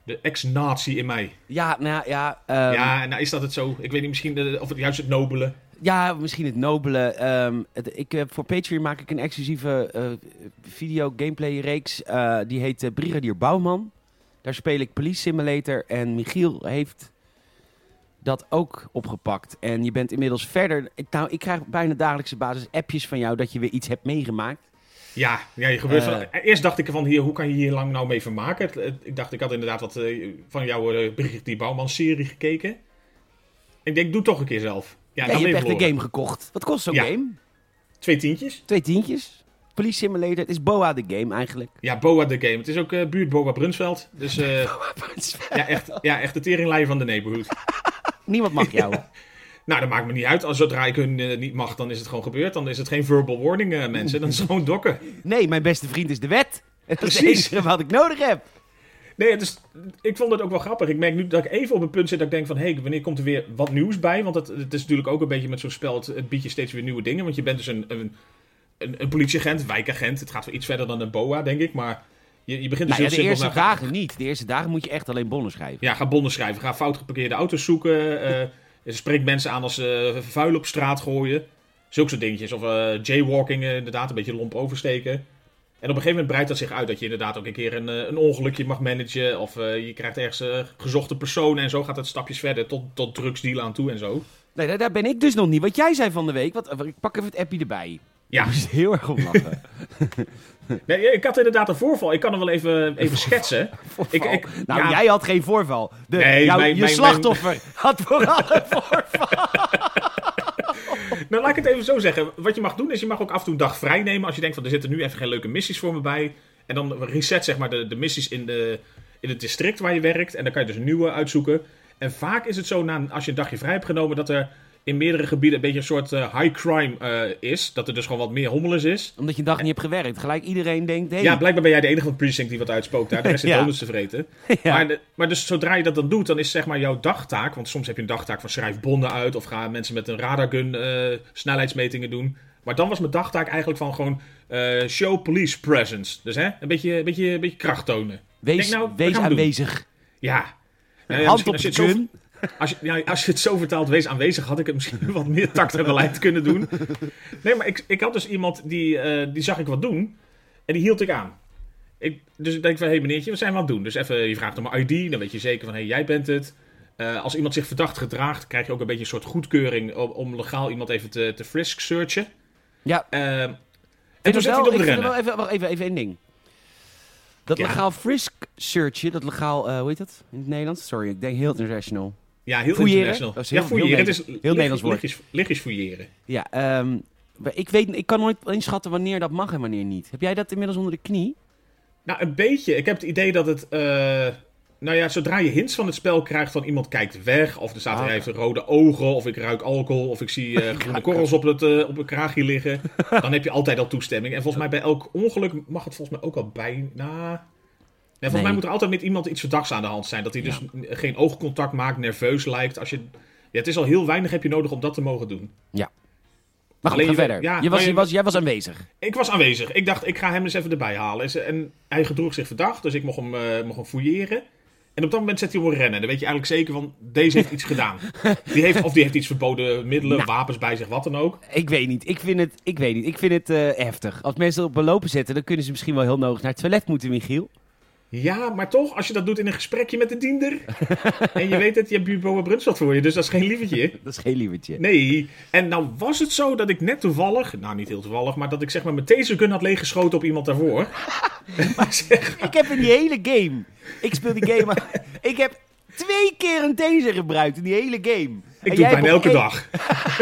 de ex-nazi in mij.
Ja, nou ja. ehm,
ja, en nou, is dat het zo? Ik weet niet, misschien eh, of het juist het nobele.
Ja, misschien het nobele. ehm, het- ik, heb voor Patreon maak ik een exclusieve eh, video gameplay reeks. eh, die heet eh, Brigadier Bouwman. Daar speel ik Police Simulator. En Michiel heeft dat ook opgepakt. En je bent inmiddels verder... Ik, nou, ik krijg op bijna dagelijkse basis appjes van jou dat je weer iets hebt meegemaakt.
Ja, ja je gebeurt
Eh.
van... Eerst dacht ik van, hier, hoe kan je hier lang nou mee vermaken? Het- het- ik dacht, ik had inderdaad wat eh, van jouw eh, Brigitte Bouwman-serie gekeken. Ik denk, doe toch een keer zelf. Ja,
Ja,
dan
je
ben
hebt
je
echt een
verloren.
game gekocht. Wat kost zo'n
Ja.
game?
Twee tientjes.
Twee tientjes. Police Simulator. Het is BOA de game eigenlijk.
Ja, Boa the Game. Het is ook eh, buurt Boa Brunsveld. Dus
*laughs*
eh, ja, echt, ja, echt de teringlijn van de neighborhood.
Niemand mag
*laughs*
jou.
Nou, dat maakt me niet uit. Als zodra ik hun eh, niet mag, dan is het gewoon gebeurd. Dan is het geen verbal warning, eh, mensen. Dan is het gewoon dokken.
Nee, mijn beste vriend is de wet. En dat is het
Precies.
enige wat ik nodig heb.
Nee, het is, ik vond het ook wel grappig. Ik merk nu dat ik even op het punt zit dat ik denk van... hé, hey, wanneer komt er weer wat nieuws bij? Want het, het is natuurlijk ook een beetje met zo'n spel... Het, het biedt je steeds weer nieuwe dingen. Want je bent dus een, een, een, een politieagent, wijkagent. Het gaat wel iets verder dan een boa, denk ik. Maar je, je begint dus
Nou ja,
heel
de
simpel
eerste
naar-
dagen niet. De eerste dagen moet je echt alleen bonnen schrijven.
Ja, ga bonnen schrijven. Ga fout geparkeerde auto's zoeken. eh spreek mensen aan als ze vuil op straat gooien. Zulke soort dingetjes. Of eh, jaywalking, eh, inderdaad, een beetje lomp oversteken. En op een gegeven moment breidt dat zich uit dat je inderdaad ook een keer een, eh, een ongelukje mag managen. Of eh, je krijgt ergens eh, gezochte personen en zo gaat het stapjes verder tot, tot drugsdeal aan toe en zo.
Nee, daar, daar ben ik dus nog niet. Wat jij zei van de week. Wat, ik pak even het appje erbij.
Ja,
Ik moest heel erg om *laughs* lachen.
nee, ik had inderdaad een voorval. Ik kan hem wel even, even schetsen. Ik, ik,
nou,
ja,
jij had geen voorval. De,
Nee,
jouw-
mijn-
je
mijn-
slachtoffer *laughs* had vooral een voorval.
Nou, laat ik het even zo zeggen. Wat je mag doen, is je mag ook af en toe een dag vrij nemen. Als je denkt van, er zitten nu even geen leuke missies voor me bij. En dan reset zeg maar de, de missies in, de, in het district waar je werkt. En dan kan je dus een nieuwe uitzoeken. En vaak is het zo, na, een- als je een dagje vrij hebt genomen, dat er in meerdere gebieden een beetje een soort eh, high crime eh, is. Dat er dus gewoon wat meer hommelers is.
Omdat je een dag niet hebt gewerkt. Gelijk iedereen denkt, hey,
Ja, blijkbaar ben jij de enige van Precinct die wat uitspookt daar.
*laughs*
De rest zit
Ja.
donuts te vreten.
Ja.
Maar, de- maar dus zodra je dat dan doet, dan is zeg maar jouw dagtaak... Want soms heb je een dagtaak van schrijf bonnen uit... of ga mensen met een radargun eh, snelheidsmetingen doen. Maar dan was mijn dagtaak eigenlijk van gewoon eh, show police presence. Dus hè, een beetje, een beetje, een beetje kracht tonen.
wees,
denk nou, we
wees
gaan het doen.
aanwezig.
Ja. Nou ja,
Hand
misschien
op
als
de
je het zo-
gun.
als je, ja, als je het zo vertaalt, wees aanwezig, had ik het misschien *laughs* wat meer tact en beleid kunnen doen. Nee, maar ik, ik had dus iemand die, eh, die zag ik wat doen en die hield ik aan. Ik, dus ik denk van, hé hey, meneertje, wat zijn we aan het doen? Dus even, je vraagt om mijn ID, dan weet je zeker van, hé, hey, jij bent het. Eh, als iemand zich verdacht gedraagt, krijg je ook een beetje een soort goedkeuring om, om legaal iemand even te, te frisk searchen.
Ja.
Eh, en
Vind
toen
het
zet hij
wel-
het op de
ik vind het
rennen.
wel even, wacht, even, even één ding. Dat
Ja.
legaal frisk searchje, dat legaal, eh, hoe heet dat in het Nederlands? Sorry, ik denk heel international.
Ja, heel
Fouilleren?
international.
Dat is heel-
ja, fouilleren.
heel
Het is
Nederlands. Heel Nederlands woord.
Lichtjes, lichtjes fouilleren.
Ja, ehm, maar ik, weet, ik kan nooit inschatten wanneer dat mag en wanneer niet. Heb jij dat inmiddels onder de knie?
Nou, een beetje. Ik heb het idee dat het. eh, nou ja, zodra je hints van het spel krijgt van iemand kijkt weg, of er staat
Ah.
hij heeft rode ogen, of ik ruik alcohol, of ik
*laughs*
zie eh, groene korrels op het, eh, op het kraagje liggen, dan heb je altijd al toestemming. En volgens mij bij elk ongeluk mag het volgens mij ook al bijna. Nee, volgens
Nee.
mij moet er altijd met iemand iets verdachts aan de hand zijn. Dat hij dus n- geen oogcontact maakt, nerveus lijkt. Als je... ja, het is al heel weinig heb je nodig om dat te mogen doen.
Maar goed,
Alleen
ga
je-
verder.
ja,
je was,
maar
je
je-
was, jij was aanwezig.
Ik was aanwezig. Ik dacht, ik ga hem eens even erbij halen. Is- En hij gedroeg zich verdacht, dus ik mocht hem, eh, mocht hem fouilleren. En op dat moment zet hij hem rennen. Dan weet je eigenlijk zeker van, deze heeft iets gedaan. Die heeft, of die heeft iets verboden, middelen,
Nou.
wapens bij zich, wat dan ook.
Ik weet niet. Ik vind het, ik weet niet. Ik vind het eh, heftig. Als mensen op belopen zetten, dan kunnen ze misschien wel heel nodig naar het toilet moeten, Michiel. *laughs*
Ja, maar toch, als je dat doet in een gesprekje met de diender. en je weet het, je hebt Bubo Brunsveld voor je, dus dat is geen lievertje.
Dat is geen lievertje.
Nee, en nou was het zo dat ik net toevallig, nou niet heel toevallig, maar dat ik zeg maar mijn tasergun had leeggeschoten op iemand daarvoor. maar zeg,
Ik heb in die hele game. Ik speel die game. *laughs* maar ik heb twee keer een taser gebruikt in die hele game.
ik doe het bijna elke
dag.
dag.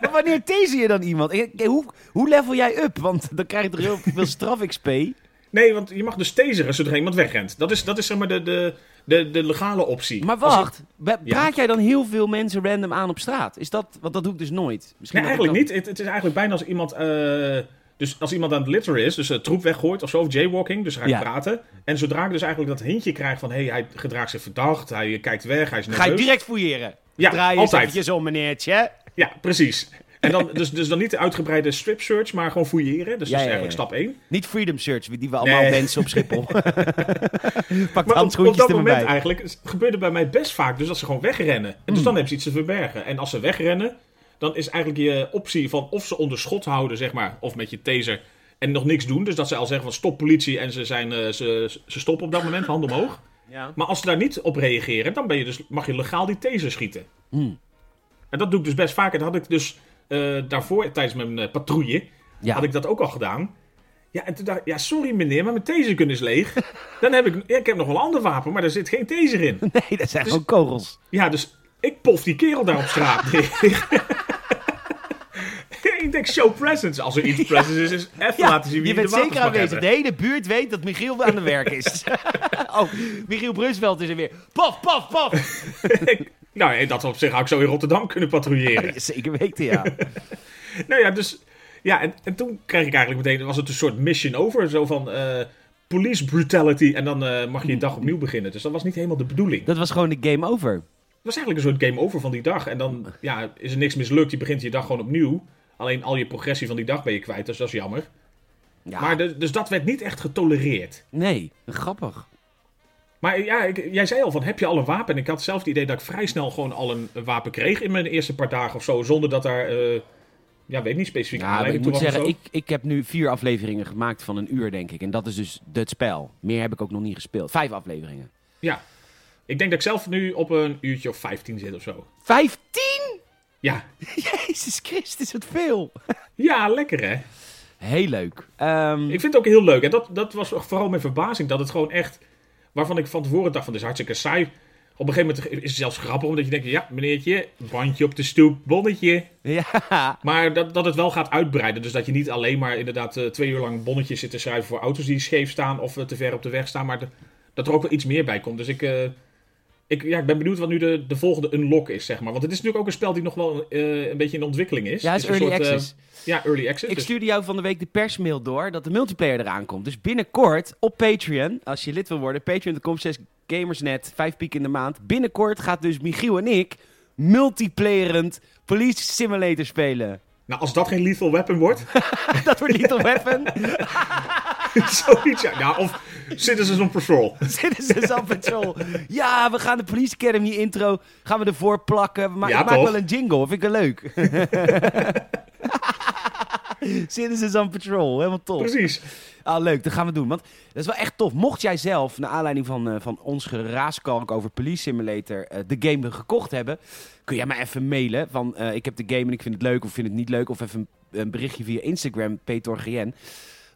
Maar wanneer taser je dan iemand? Ik- ik- Hoe, hoe level jij up? Want dan krijg je toch heel veel straf XP.
Nee, want je mag dus taseren zodra iemand wegrent. Dat is, dat is zeg maar de, de, de, de legale optie.
Maar
Als ik-
wacht, ba-
Ja.
praat jij dan heel veel mensen random aan op straat? Is dat, want dat doe ik dus nooit. Misschien
Nee,
dat ik
eigenlijk niet. Het, het is eigenlijk bijna als iemand, eh, dus als iemand aan het litteren is, dus een troep weggooit of zo, of jaywalking, dus ga ik
Ja.
praten. En zodra ik dus eigenlijk dat hintje krijg van, hé, hey, hij gedraagt zich verdacht, hij eh, kijkt weg, hij is
dan-
nerveus.
Ga je direct fouilleren?
Ja,
Draai je eens
altijd.
eventjes om, meneertje.
Ja, precies. En dan, dus, dus dan niet de uitgebreide strip search, maar gewoon fouilleren. Dus
Ja,
dat is
ja, ja,
eigenlijk
ja.
stap 1.
Niet Freedom Search, die we allemaal
Nee.
wensen op
*laughs*
Schiphol. Pak de
Maar op, op
handschoentjes
dat
er maar
moment
bij. Hmm.
eigenlijk is- gebeurde bij mij best vaak dus dat ze gewoon wegrennen. En dus dan hebben ze iets te verbergen. En als ze wegrennen, dan is eigenlijk je optie van of ze onder schot houden, zeg maar, of met je taser en nog niks doen. Dus dat ze al zeggen van stop politie en ze, zijn, eh, ze, ze stoppen op dat moment, hand omhoog.
Ja.
Maar als ze daar niet op reageren, dan ben je dus, mag je legaal die taser schieten.
Hmm.
En dat doe ik dus best vaak. En dat had ik dus eh, daarvoor, tijdens mijn eh, patrouille,
Ja.
had ik dat ook al gedaan. Ja, en toen dacht ik, ja, sorry meneer, maar mijn tasergun is leeg. *laughs* Dan heb ik, ja, ik heb nog wel een ander wapen, maar daar zit geen taser in.
*laughs* Nee, dat zijn
Dus
gewoon kogels.
Ja, dus ik pof die kerel daar op straat *laughs* neer. ik denk, show presence. Als er iets presence is, is even
Ja,
*laughs* laten zien wie
je bent
de wapens
zeker
mag
aanwezig. De
hebben.
hele buurt weet dat Michiel aan de werk is. *laughs* oh, Michiel Brunsveld is er weer. Paf, paf,
*laughs*
paf.
Nou, ja, dat op zich had ik zo in Rotterdam kunnen patrouilleren.
Zeker weten, ja.
Nou ja, dus. Ja, en, en toen kreeg ik eigenlijk meteen. was het een soort mission over. Zo van. eh, police brutality. En dan eh, mag je
Mm.
je dag opnieuw beginnen. Dus dat was niet helemaal de bedoeling.
Dat was gewoon de game over.
Het was eigenlijk een soort game over van die dag. En dan ja, is er niks mislukt. Je begint je dag gewoon opnieuw. Alleen al je progressie van die dag ben je kwijt. Dus dat is jammer.
Ja,
Maar de- dus dat werd niet echt getolereerd.
nee, grappig.
Maar ja, ik- jij zei al van heb je al een wapen? En ik had zelf het idee dat ik vrij snel gewoon al een een wapen kreeg in mijn eerste paar dagen of zo. Zonder dat daar, eh, ja, weet niet specifiek
Ja, maar ik
aanleiding toe
moet
was of
zeggen,
zo.
ik, ik heb nu vier afleveringen gemaakt van een uur, denk ik. En dat is dus het spel. Meer heb ik ook nog niet gespeeld. Vijf afleveringen.
Ja. Ik denk dat ik zelf nu op een uurtje of 15 zit of zo.
Vijftien?
Ja.
Jezus Christus, wat veel.
Ja, lekker hè.
Heel leuk. Ehm,
Ik vind het ook heel leuk. En dat, dat was vooral mijn verbazing. Dat het gewoon echt. Waarvan ik van tevoren dacht: van dit is hartstikke saai. Op een gegeven moment is het zelfs grappig. Omdat je denkt: ja, meneertje, bandje op de stoep, bonnetje.
*laughs* ja.
Maar dat, dat het wel gaat uitbreiden. Dus dat je niet alleen maar inderdaad eh, twee uur lang bonnetjes zit te schrijven voor auto's die scheef staan. of eh, te ver op de weg staan. Maar de- dat er ook wel iets meer bij komt. Dus ik. eh, Ik, ja, ik ben benieuwd wat nu de, de volgende unlock is, zeg maar. Want het is natuurlijk ook een spel die nog wel eh, een beetje in ontwikkeling is.
Ja, het is
een
early
soort, eh,
access.
ja, early access.
Ik
dus-
stuurde jou van de week de persmail door dat de multiplayer eraan komt. Dus binnenkort op Patreon, als je lid wil worden, patreon.com slash gamersnet, vijf piek in de maand. Binnenkort gaat dus Michiel en ik multiplayerend Police Simulator spelen. *laughs*
Nou, als dat geen lethal weapon wordt,
Dat wordt Little Weapon,
*laughs* zoiets. Ja, nou, of Citizens on Patrol.
*laughs* Citizens on dus Patrol. Ja, we gaan de Police Academy intro, gaan we ervoor plakken. Maar
Ja,
ik maak
toch?
wel een jingle, vind ik wel leuk. *laughs* Citizens on dus Patrol, helemaal top.
Precies.
Ah, leuk, dat gaan we doen. Want dat is wel echt tof. Mocht jij zelf, naar aanleiding van, eh, van ons geraaskalk over Police Simulator, eh, de game gekocht hebben, kun jij mij even mailen. Van eh, ik heb de game en ik vind het leuk of vind het niet leuk. Of even een, een berichtje via Instagram, PetorGN.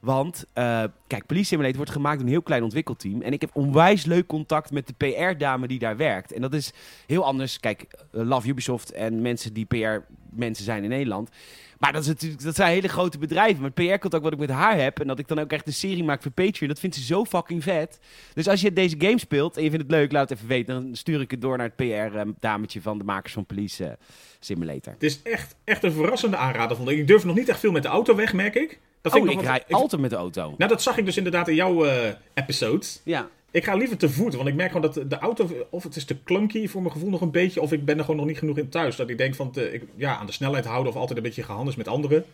Want, eh, kijk, Police Simulator wordt gemaakt door een heel klein ontwikkelteam. En ik heb onwijs leuk contact met de PR-dame die daar werkt. En dat is heel anders. Kijk, eh, love Ubisoft en mensen die PR-mensen zijn in Nederland. Maar dat, is natuurlijk, dat zijn hele grote bedrijven. Maar het PR-contact wat ik met haar heb... en dat ik dan ook echt een serie maak voor Patreon... dat vindt ze zo fucking vet. Dus als je deze game speelt en je vindt het leuk... laat het even weten. Dan stuur ik het door naar het PR-dametje van de makers van Police eh, Simulator.
Het is echt, echt een verrassende aanrader, vond ik. Ik durf nog niet echt veel met de auto weg, merk ik. Dat
Oh,
nog
ik
wat-
rij altijd met de auto.
Nou, dat zag ik dus inderdaad in jouw eh, episode.
Ja.
Ik ga liever te voet, want ik merk gewoon dat de- de auto... of het is te clunky voor mijn gevoel nog een beetje... of ik ben er gewoon nog niet genoeg in thuis. Dat ik denk van, te- ik, ja, aan de snelheid houden... of altijd een beetje gehandels met anderen.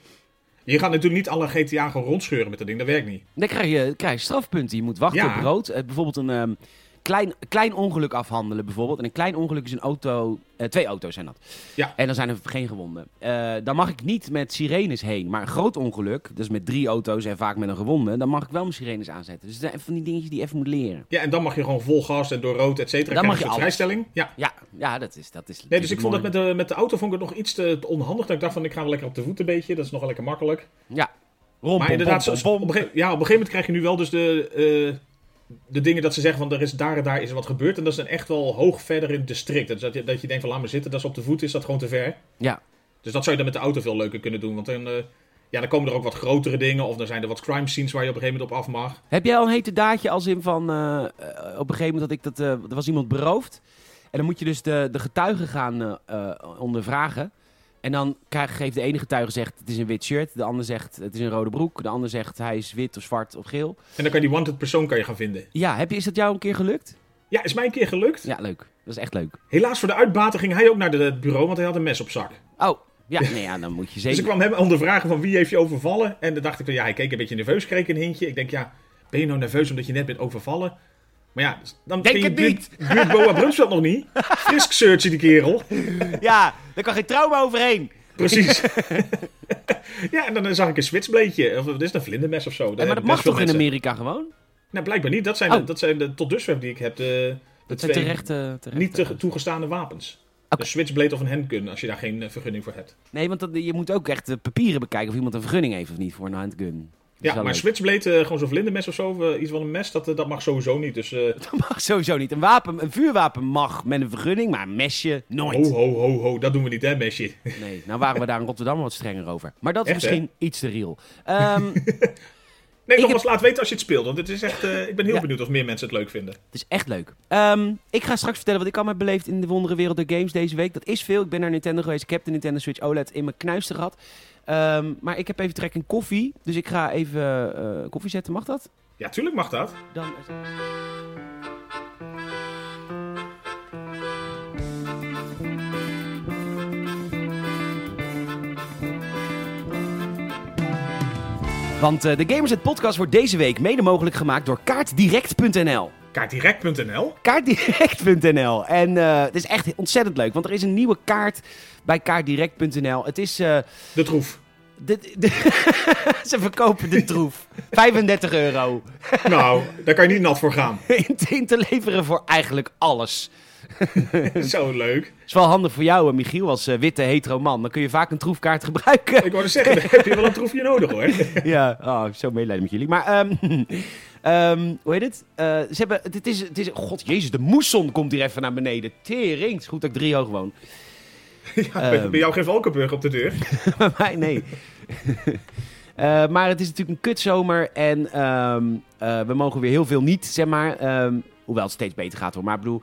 Je gaat natuurlijk niet alle GTA gewoon rondscheuren met dat ding. Dat werkt niet.
Dan krijg je, krijg je strafpunten. Je moet wachten
Ja.
op rood. Eh, bijvoorbeeld een ehm, klein, klein ongeluk afhandelen. Bijvoorbeeld. En een klein ongeluk is een auto. eh, twee auto's zijn dat.
Ja.
En dan zijn er geen gewonden. Eh, dan mag ik niet met sirenes heen. Maar een groot ongeluk, dus met drie auto's en vaak met een gewonde, dan mag ik wel mijn sirenes aanzetten. Dus dat zijn van die dingetjes die je even moet leren.
Ja, en dan mag je gewoon vol gas en door rood, et cetera.
Dan
krijg
mag
je
je
een
alles.
vrijstelling. Ja.
Ja, ja dat is. Dat is
Nee, dus ik vond dat
mooi.
met de, met de auto vond ik het nog iets te, te onhandig. Dat ik dacht van, ik ga wel lekker op de voet een beetje. Dat is nog wel lekker makkelijk.
Ja. Rom,
Maar
pom,
inderdaad,
pom,
zo-
pom,
Op,
pom.
een gegeven, ja, op een gegeven moment krijg je nu wel dus de, eh, de dingen dat ze zeggen van er is daar en daar is er wat gebeurd. En dat is dan echt wel hoog verder in het district. Dus dat, je, dat je denkt van laat maar zitten, dat is op de voet, is dat gewoon te ver.
Ja.
Dus dat zou je dan met de auto veel leuker kunnen doen. Want dan, eh, ja, dan komen er ook wat grotere dingen of dan zijn er wat crime scenes waar je op een gegeven moment op af mag.
Heb jij al een hete daadje als in van... eh, eh, op een gegeven moment dat ik dat... eh, er was iemand beroofd. En dan moet je dus de, de getuigen gaan eh, eh, ondervragen. En dan krijg, geeft de ene getuige zegt het is een wit shirt. De ander zegt het is een rode broek. De ander zegt hij is wit of zwart of geel.
En dan kan je die wanted persoon kan je gaan vinden.
Ja, heb je, is dat jou een keer gelukt?
Ja, is mij een keer gelukt.
Ja, leuk. Dat is echt leuk.
Helaas voor de uitbater ging hij ook naar de- het bureau, want hij had een mes op zak.
Oh,
*laughs*
ja, nee, ja dan moet je
Dus
zeker...
ik kwam hem ondervragen van wie heeft je overvallen. En dan dacht ik, van, ja, hij keek een beetje nerveus, kreeg een hintje. Ik denk, ja, ben je nou nerveus omdat je net bent overvallen? Maar ja, dus dan
Denk
ken je
het
buurt- buurt
*laughs*
Boa Brumsveld nog niet. Frisk search je die kerel.
Ja, daar kan geen trauma overheen.
Precies. *laughs* ja, en dan eh, zag ik een switchbleedje. Of dat is het, een vlindermes of zo.
Eh, maar dat
hebben
mag
best veel
toch in
mensen.
Amerika gewoon?
Nou, blijkbaar niet. Dat zijn, de,
Oh.
dat zijn de, tot dusver die ik heb, de, de
Dat zijn
twee
terecht... eh, terecht
niet
eh,
te, toegestane wapens.
Oké.
Een switchblade of een handgun, als je daar geen eh, vergunning voor hebt.
Nee, want dat, je moet ook echt de papieren bekijken of iemand een vergunning heeft of niet voor een handgun. Dat is
Ja,
wel
maar
leuk.
Switchblade, eh, gewoon zo'n vlindermes of zo, eh, iets van een mes, dat, eh, dat mag sowieso niet. Dus eh,
Dat mag sowieso niet. Een, wapen, een vuurwapen mag met een vergunning, maar een mesje nooit.
ho, ho, ho, ho, dat doen we niet hè, mesje.
Nee, nou waren we daar in Rotterdam wat strenger over. Maar dat is
Echt, hè?
misschien iets te real. Ehm,
*laughs* Nee,
Ik
nogmaals, laat weten als je het speelt, want het is echt, eh, ik ben heel
Ja.
benieuwd of meer mensen het leuk vinden.
het is echt leuk. Ehm, ik ga straks vertellen wat ik allemaal heb beleefd in de wondere wereld der games deze week. Dat is veel. Ik ben naar Nintendo geweest. Ik heb de Nintendo Switch OLED in mijn knuisten gehad. Ehm, maar ik heb even trek in koffie. Dus ik ga even eh, koffie zetten. Mag dat?
Ja, tuurlijk mag dat.
Dan... Want eh, de Gamers het podcast wordt deze week mede mogelijk gemaakt door kaartdirect.nl.
Kaartdirect.nl.
Kaartdirect.nl. En eh, het is echt ontzettend leuk, want er is een nieuwe kaart bij kaartdirect.nl. Het is eh,
De troef.
de- de- *laughs* ze verkopen de troef. 35 euro.
*laughs* nou, daar kan je niet nat voor gaan.
in te- in te leveren voor eigenlijk alles.
zo leuk.
is wel handig voor jou, eh, Michiel, als eh, witte hetero man. Dan kun je vaak een troefkaart *laughs* gebruiken.
*laughs* Ik wou dus zeggen, daar heb je wel een troefje nodig hoor.
ja, oh, zo medelijden met jullie. Maar, ehm, *laughs* ehm, hoe heet het? Eh, ze hebben, het is, het is, god jezus, de moesson komt hier even naar beneden. Tering, het is goed dat ik drie hoog woon.
Ja, bij- Bij jou geen Valkenburg op de deur.
*laughs* Bij mij, nee. Eh, maar het is natuurlijk een kutzomer en ehm, eh, we mogen weer heel veel niet, zeg maar. Ehm, hoewel het steeds beter gaat hoor, maar ik bedoel...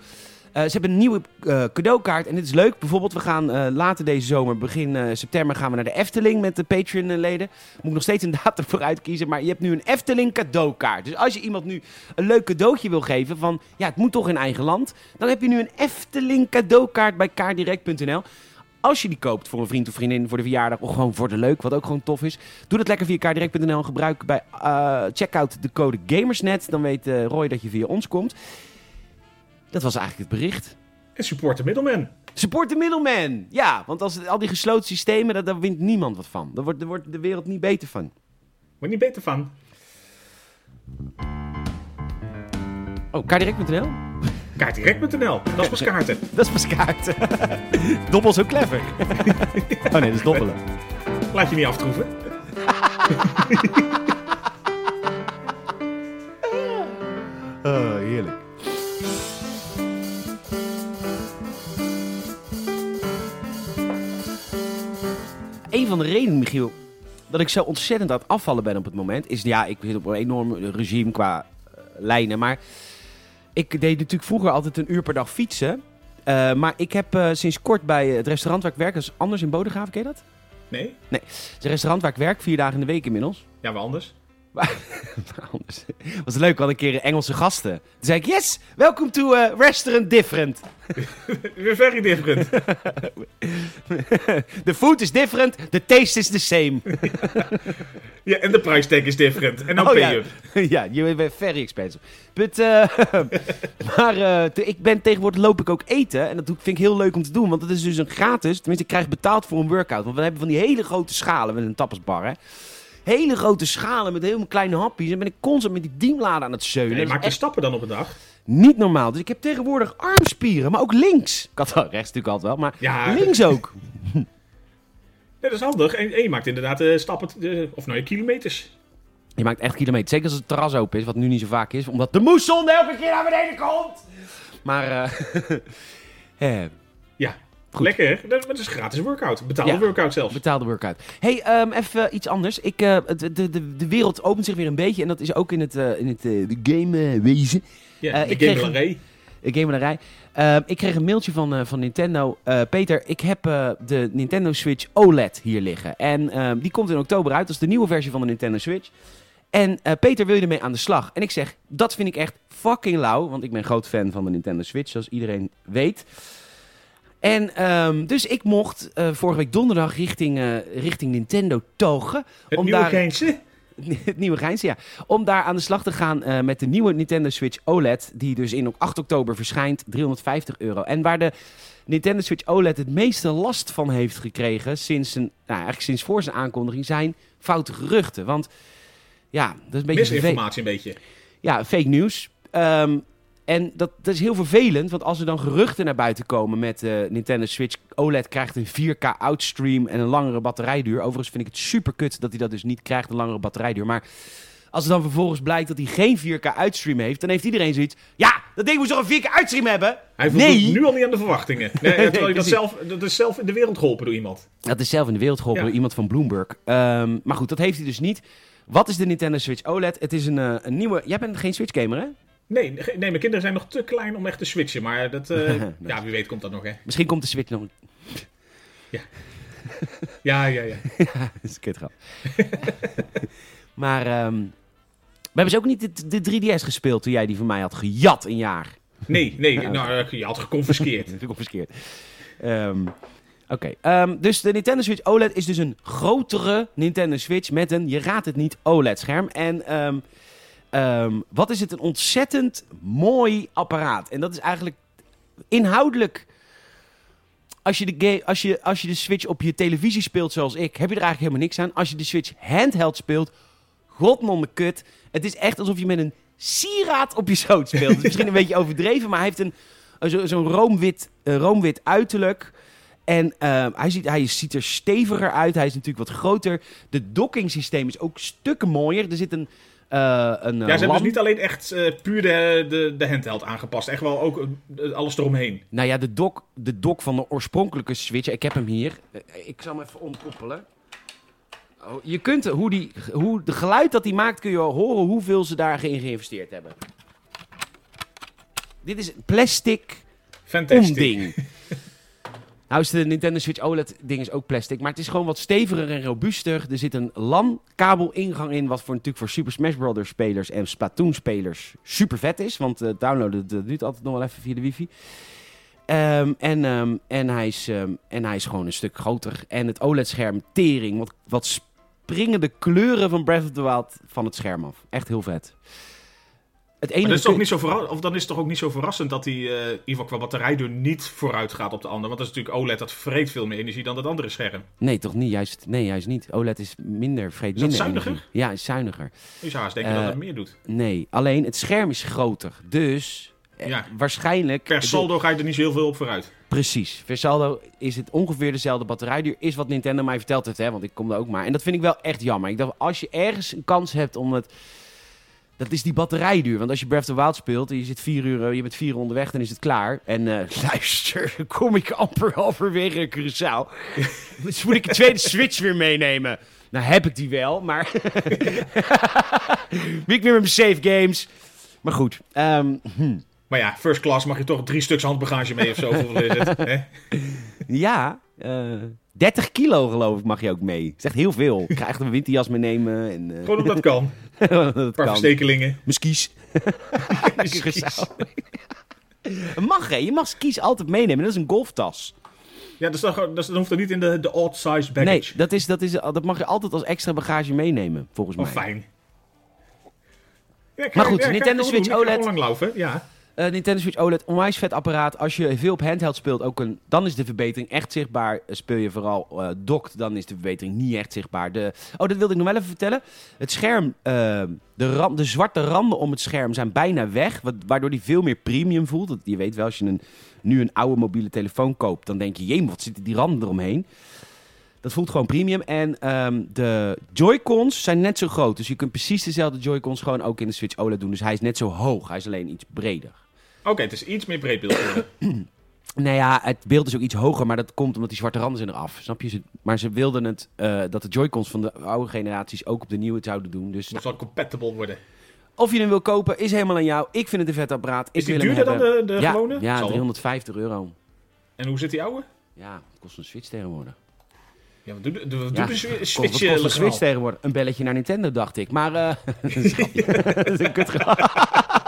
Eh, ze hebben een nieuwe eh, cadeaukaart en dit is leuk. Bijvoorbeeld, we gaan eh, later deze zomer, begin eh, september, gaan we naar de Efteling met de Patreon-leden. Moet ik nog steeds een *laughs* datum voor uitkiezen, maar je hebt nu een Efteling cadeaukaart. Dus als je iemand nu een leuk cadeautje wil geven van, ja, het moet toch in eigen land. Dan heb je nu een Efteling cadeaukaart bij kaardirect.nl. Als je die koopt voor een vriend of vriendin, voor de verjaardag of gewoon voor de leuk, wat ook gewoon tof is. Doe dat lekker via kaardirect.nl en gebruik bij eh, checkout de code GAMERSNET. Dan weet eh, Roy dat je via ons komt. Dat was eigenlijk het bericht.
En support de middleman.
Support de middleman! Ja, want als het- al die gesloten systemen, daar, daar wint niemand wat van. Daar wordt, daar wordt de wereld niet beter van.
Word je niet beter van.
Oh, kaardirect.nl?
Kaartdirect.nl. Dat is pas kaarten.
Dat is pas kaart. *laughs* Dobbel zo clever. oh nee, dat is dobbelen.
Laat je niet aftroeven.
Oh, heerlijk. Een van de redenen, Michiel, dat ik zo ontzettend aan het afvallen ben op het moment, is ja, ik zit op een enorm regime qua eh, lijnen, maar ik deed natuurlijk vroeger altijd een uur per dag fietsen. Eh, maar ik heb eh, sinds kort bij het restaurant waar ik werk, dat is anders in Bodegraven, ken je dat?
Nee?
Het is een restaurant waar ik werk, vier dagen in de week inmiddels. *laughs* Nou,
Ja, wel anders.
Anders. Was leuk, we hadden een keer Engelse gasten. Toen zei ik, yes, welcome to eh, restaurant different.
We're very different.
the food is different, the taste is the same.
Ja, en de price tag is different. En dan
Oh,
pay
ja.
you.
*laughs* ja, you were very expensive. But, eh, *laughs* maar eh, te- ik ben tegenwoordig loop ik ook eten. En dat doe- vind ik heel leuk om te doen. Want dat is dus een gratis. Tenminste, ik krijg betaald voor een workout. Want we hebben van die hele grote schalen met een tapasbar. Hè. Hele grote schalen met helemaal kleine hapjes. En ben ik constant met die diemladen aan het zeulen.
Nee,
Dat is
maak je stappen dan op een dag.
Niet normaal. Dus ik heb tegenwoordig armspieren, maar ook links. Ik had wel rechts natuurlijk altijd wel, maar
Ja.
links ook.
Nee, dat is handig. En, en je maakt inderdaad eh, stappen, eh, of nou, je kilometers.
Je maakt echt kilometers. Zeker als het terras open is, wat nu niet zo vaak is, omdat de moesson elke keer naar beneden komt. Maar, *laughs* eh, eh,
Ja,
Goed.
lekker. Dat, dat is een gratis workout. Betaalde
Ja.
workout zelfs.
betaalde workout. hey, ehm, even iets anders. Ik, eh, de, de, de, de wereld opent zich weer een beetje en dat is ook in het, eh, in het eh, de gamewezen.
Ja,
Eh,
de
ik kreeg
Game Larry.
Ik game rij. Ehm, ik kreeg een mailtje van, eh, van Nintendo. Eh, Peter, ik heb eh, de Nintendo Switch OLED hier liggen. En ehm, die komt in oktober uit. Dat is de nieuwe versie van de Nintendo Switch. En eh, Peter, wil je ermee aan de slag? En ik zeg, dat vind ik echt fucking lauw. Want ik ben groot fan van de Nintendo Switch, zoals iedereen weet. En ehm, dus ik mocht eh, vorige week donderdag richting, eh, richting Nintendo togen.
Het
om
nieuwe
daar-
Geinse.
*laughs* het nieuwe Grijns, ja. Om daar aan de slag te gaan eh, met de nieuwe Nintendo Switch OLED. Die dus in 8 oktober verschijnt. 350 euro. En waar de Nintendo Switch OLED het meeste last van heeft gekregen. Sinds, een, nou, eigenlijk sinds voor zijn aankondiging zijn foute geruchten. Want ja, dat is een beetje vervelend.
Misinformatie een beetje.
Ja, fake nieuws. Ehm, en dat, dat is heel vervelend, want als er dan geruchten naar buiten komen met eh, Nintendo Switch OLED krijgt een 4K outstream en een langere batterijduur. Overigens vind ik het super kut dat hij dat dus niet krijgt, een langere batterijduur. Maar als het dan vervolgens blijkt dat hij geen 4K uitstream heeft, dan heeft iedereen zoiets. Ja, dat ding moet toch een 4K uitstream hebben?
Hij voldoet
nee,
nu al niet aan de verwachtingen.
*laughs*
Nee,
Nee,
terwijl je dat,
precies.
zelf, dat is zelf in de wereld geholpen door iemand.
dat is zelf in de wereld geholpen
Ja.
door iemand van Bloomberg. Ehm, maar goed, dat heeft hij dus niet. Wat is de Nintendo Switch OLED? Het is een, eh, een nieuwe... Jij bent geen Switch-gamer, hè?
Nee, ge- nee, mijn kinderen zijn nog te klein om echt te switchen.
*laughs*
Maar dat, eh,
Nice.
ja, wie weet komt dat nog, hè?
Misschien komt de Switch nog een
Ja, ja, ja.
Dat *laughs* is een kutgrap. maar ehm, we hebben ze ook niet de, de 3DS gespeeld toen jij die van mij had gejat een jaar.
Nee,
*laughs*
nee, nou, eh, je had geconfiskeerd.
Dat vind ik verkeerd. Oké, ehm, dus de Nintendo Switch OLED is dus een grotere Nintendo Switch met een, je raadt het niet, OLED-scherm. En ehm, ehm, wat is het een ontzettend mooi apparaat. En dat is eigenlijk inhoudelijk... Als je, de ga- als, je, als je de Switch op je televisie speelt zoals ik, heb je er eigenlijk helemaal niks aan. Als je de Switch handheld speelt, godnomme kut. Het is echt alsof je met een sieraad op je schoot speelt. Het is misschien
*laughs*
een beetje overdreven, maar hij heeft een, eh, zo- zo'n roomwit, eh, roomwit uiterlijk. En eh, hij, ziet, hij ziet er steviger uit. Hij is natuurlijk wat groter. De docking systeem is ook stukken mooier. Er zit een, eh een eh,
Ja, ze hebben
lamp-
dus niet alleen echt eh, puur de, de, de handheld aangepast. Echt wel ook eh, alles eromheen.
Nou ja, de dock, de dock van de oorspronkelijke Switch. Ik heb hem hier. Eh, Ik zal hem even omkoppelen. Oh, je kunt hoe, die, hoe de geluid dat hij maakt, kun je wel horen hoeveel ze daarin geïnvesteerd hebben. Dit is plastic
Fantastisch.
onding. nou is de Nintendo Switch OLED ding is ook plastic, maar het is gewoon wat steviger en robuuster. Er zit een LAN kabel ingang in, wat voor natuurlijk voor Super Smash Bros. spelers en Splatoon spelers super vet is, want eh, downloaden dat duurt altijd nog wel even via de wifi. Ehm, en, ehm, en, hij is, ehm, en hij is gewoon een stuk groter. En het OLED-scherm tering. Wat, wat springen de kleuren van Breath of the Wild van het scherm af. Echt heel vet. Het enige
Maar dat is
kun-
toch niet zo verra- of dan is het toch ook niet zo verrassend dat die, eh, in ieder geval qua batterijdeur niet vooruit gaat op de ander. Want dat is natuurlijk OLED, dat vreet veel meer energie dan dat andere scherm.
Nee, toch niet? Juist, nee, juist niet. OLED is minder vreed.
Is dat
minder
zuiniger?
energie. Ja, is zuiniger.
Je zou haast denken
Eh,
dat het meer doet.
Nee, alleen het scherm is groter. Dus eh,
Ja.
waarschijnlijk...
Per saldo ga je er niet zo heel veel op vooruit.
Precies. Versaldo is het ongeveer dezelfde batterijduur. Is wat Nintendo mij verteld heeft, hè? want ik kom daar ook maar. En dat vind ik wel echt jammer. Ik dacht, als je ergens een kans hebt om het... Dat is die batterijduur. Want als je Breath of the Wild speelt en je, zit vier uur, eh, je bent vier uur onderweg, dan is het klaar. En eh, *laughs* luister, kom ik amper *laughs* halverwege in Curaçao. *laughs* dus moet ik een tweede Switch weer meenemen. Nou heb ik die wel, maar... *laughs* Wie ik weer met mijn save games. Maar goed, ehm,
Maar ja, first class mag je toch drie stuks handbagage mee of
*laughs*
zo. hoeveel is het, hè?
Ja, eh, 30 kilo geloof ik mag je ook mee. Dat is echt heel
*laughs*
veel. Ik ga echt een winterjas meenemen en eh,
Gewoon omdat dat kan. Een
dat
paar
kan.
verstekelingen.
*laughs* Muskies.
Precies.
*laughs* mag hè, je mag skis altijd meenemen. Dat is een golftas.
Ja, dus dan, dat is- dan hoeft dat niet in de, de odd size baggage.
Nee, dat, is, dat, is, dat mag je altijd als extra bagage meenemen, volgens
Oh,
mij.
fijn. Ja, kan-
Maar goed,
ja, kan
Nintendo
ik gewoon
Switch E
doen. Ik kan
OLED.
gewoon lang lopen, ja.
Eh, Nintendo Switch OLED, onwijs vet apparaat. Als je veel op handheld speelt, ook een, dan is de verbetering echt zichtbaar. Eh, Speel je vooral eh docked, dan is de verbetering niet echt zichtbaar. De, oh, dat wilde ik nog wel even vertellen. Het scherm, eh, de, ram- de zwarte randen om het scherm zijn bijna weg, wa- waardoor die veel meer premium voelt. Want je weet wel, als je een, nu een oude mobiele telefoon koopt, dan denk je, jee, wat zitten die randen eromheen? Dat voelt gewoon premium. En ehm, de Joy-Cons zijn net zo groot. Dus je kunt precies dezelfde Joy-Cons gewoon ook in de Switch OLED doen. Dus hij is net zo hoog. Hij is alleen iets breder.
Oké, het is iets meer breedbeeld. geworden.
Nou ja, het beeld is ook iets hoger, maar dat komt omdat die zwarte randen zijn eraf. Snap je? Ze- Maar ze wilden het, eh, dat de Joy-Cons van de oude generaties ook op de nieuwe zouden doen. Dus
Het zal compatible worden.
of je hem wil kopen, is helemaal aan jou. Ik vind het een vet apparaat. Ik
Is die
wil hem
duurder dan
hebben.
de, de
ja,
gewone?
Ja,
Zal wel.
350 euro.
En hoe zit die oude?
Ja, het kost een Switch tegenwoordig.
Ja, wat doet de, de, wat
Ja,
doet de Swi-
Kost-
Switch
wat kost
eh,
een Switch
legaal?
tegenwoordig? Een belletje naar Nintendo, dacht ik. Maar, eh, *laughs* dat
*laughs*
is een grapje. Dat is een kutgrap. *laughs*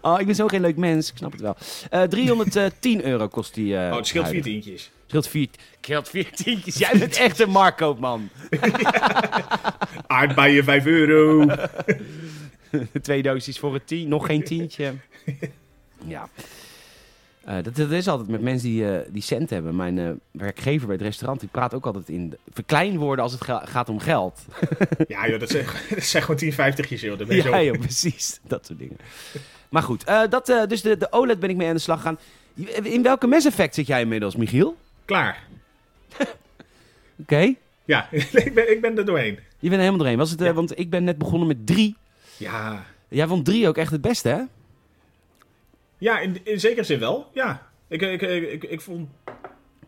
Oh, ik ben zo geen leuk mens. Ik snap het wel. Eh, 310 euro kost die. eh,
Oh, het scheelt vier
huidige.
tientjes.
Scheelt vier, scheelt vier tientjes. Jij bent echt een marktkoopman.
Aardbeien 5 euro.
Twee doosjes voor een tien, nog geen tientje. ja. Eh, dat, dat is altijd met mensen die, eh, die cent hebben. Mijn eh, werkgever bij het restaurant, die praat ook altijd in verkleinwoorden als het ga- gaat om geld.
Ja joh, dat zijn, *laughs* dat zijn gewoon 10, 50 joh. Dan ben je zo-
Ja, joh, *laughs* precies. Dat soort dingen. Maar goed, eh, dat, eh, dus de, de OLED ben ik mee aan de slag gaan. eh, In welke Mass Effect zit jij inmiddels, Michiel? Oké.
Klaar. Ja, *laughs* ik ben, ik ben er doorheen.
Je bent er helemaal doorheen. Was het, eh,
Ja.
Want ik ben net begonnen met drie.
Ja,
Jij vond drie ook echt het beste, hè?
ja in, in zekere zin wel. Ja, ik, ik, ik, ik, ik vond...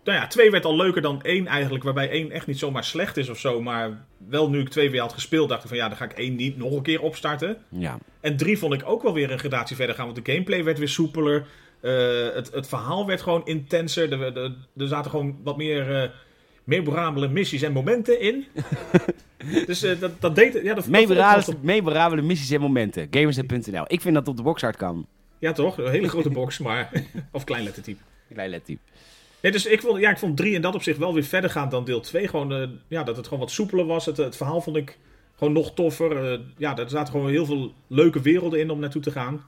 Nou ja, twee werd al leuker dan één eigenlijk. Waarbij één echt niet zomaar slecht is of zo. Maar wel nu ik twee weer had gespeeld, dacht ik van ja, dan ga ik één niet nog een keer opstarten.
Ja.
En drie vond ik ook wel weer een gradatie verder gaan. Want de gameplay werd weer soepeler. Eh, het, het verhaal werd gewoon intenser. Er, er, er zaten gewoon wat meer eh memorabele missies en momenten in. dus eh, dat, dat deed... Ja, dat, dat vond
*laughs* Memorabele,
ik wel-
memorabele missies en momenten. Gamersnet.nl. Ik vind dat op de boxart kan.
Ja toch? Een hele grote box, maar... *laughs* of kleinlettertype.
Klein lettype.
Nee, dus ik vond, ja, ik vond drie in dat opzicht wel weer verder gaan dan deel 2. Gewoon, eh, ja, dat het gewoon wat soepeler was. Het, het verhaal vond ik gewoon nog toffer. Eh, ja, er zaten gewoon heel veel leuke werelden in om naartoe te gaan.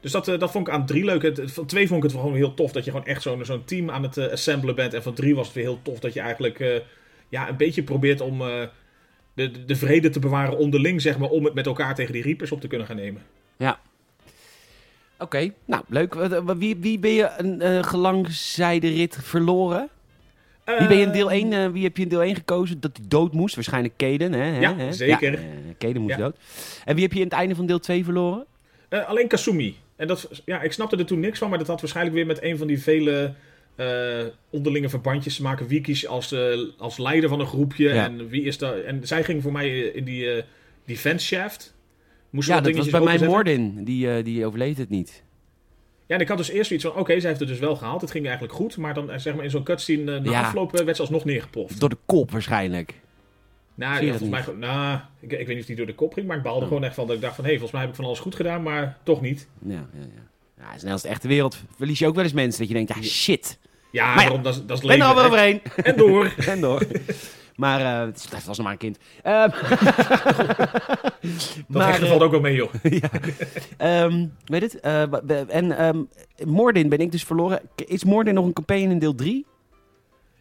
Dus dat, eh, dat vond ik aan drie leuk. Het, het- van twee vond ik het gewoon heel tof dat je gewoon echt zo'n zo'n team aan het eh, assemblen bent. En van drie was het weer heel tof dat je eigenlijk eh, ja, een beetje probeert om eh, de, de, de vrede te bewaren onderling, zeg maar. Om het met elkaar tegen die Reapers op te kunnen gaan nemen.
Ja. Oké, nou leuk. Wat- wat- Wie, wie ben je een eh gelangzijde rit verloren? Wie, ben je in deel 1, wie heb je in deel 1 gekozen dat hij dood moest? Waarschijnlijk Kaden, hè? hè,
Ja,
hè?
zeker.
Ja, eh, Kaden moest
Ja.
dood. En wie heb je in het einde van deel 2 verloren?
Eh, alleen Kasumi. En dat, ja, ik snapte er toen niks van, maar dat had waarschijnlijk weer met een van die vele eh, onderlinge verbandjes te maken. Wie kies als, eh, als leider van een groepje
Ja.
en wie is daar. En zij ging voor mij in die eh, defense shaft. Moest ze
Ja,
wat
dat was
dingetjes
bij mij
openzetten.
Mordin. Die, eh, die overleed het niet.
Ja, en ik had dus eerst zoiets van, oké, zij heeft het dus wel gehaald. Het ging eigenlijk goed. Maar dan eh, zeg maar in zo'n cutscene, eh, na
Ja.
afloop eh, werd ze alsnog neergepoft.
Door de kop waarschijnlijk.
Nou,
Zie je
ja,
dat
volgens mij,
niet? Oh.
gewoon- nou ik, ik weet niet of die door de kop ging. Maar ik baalde gewoon echt van dat ik dacht van, hé, hey, volgens mij heb ik van alles goed gedaan. Maar toch niet.
Ja, ja, ja. Ja, het is net als de echte wereld. Verlies je ook wel eens mensen dat je denkt, ja shit.
Ja,
Maar ja,
daarom, dat, is- dat is
Ben
leven.
er al wel
hè.
overheen.
*laughs* En door.
En door. Maar eh, het is- het was nog maar een kind. Ehm,
Dat
*laughs* maar,
echte valt ook wel mee, joh.
eh, ehm, weet het? Eh, b- b- en ehm Moordin ben ik dus verloren. K- Is Moordin nog een campaign in deel 3?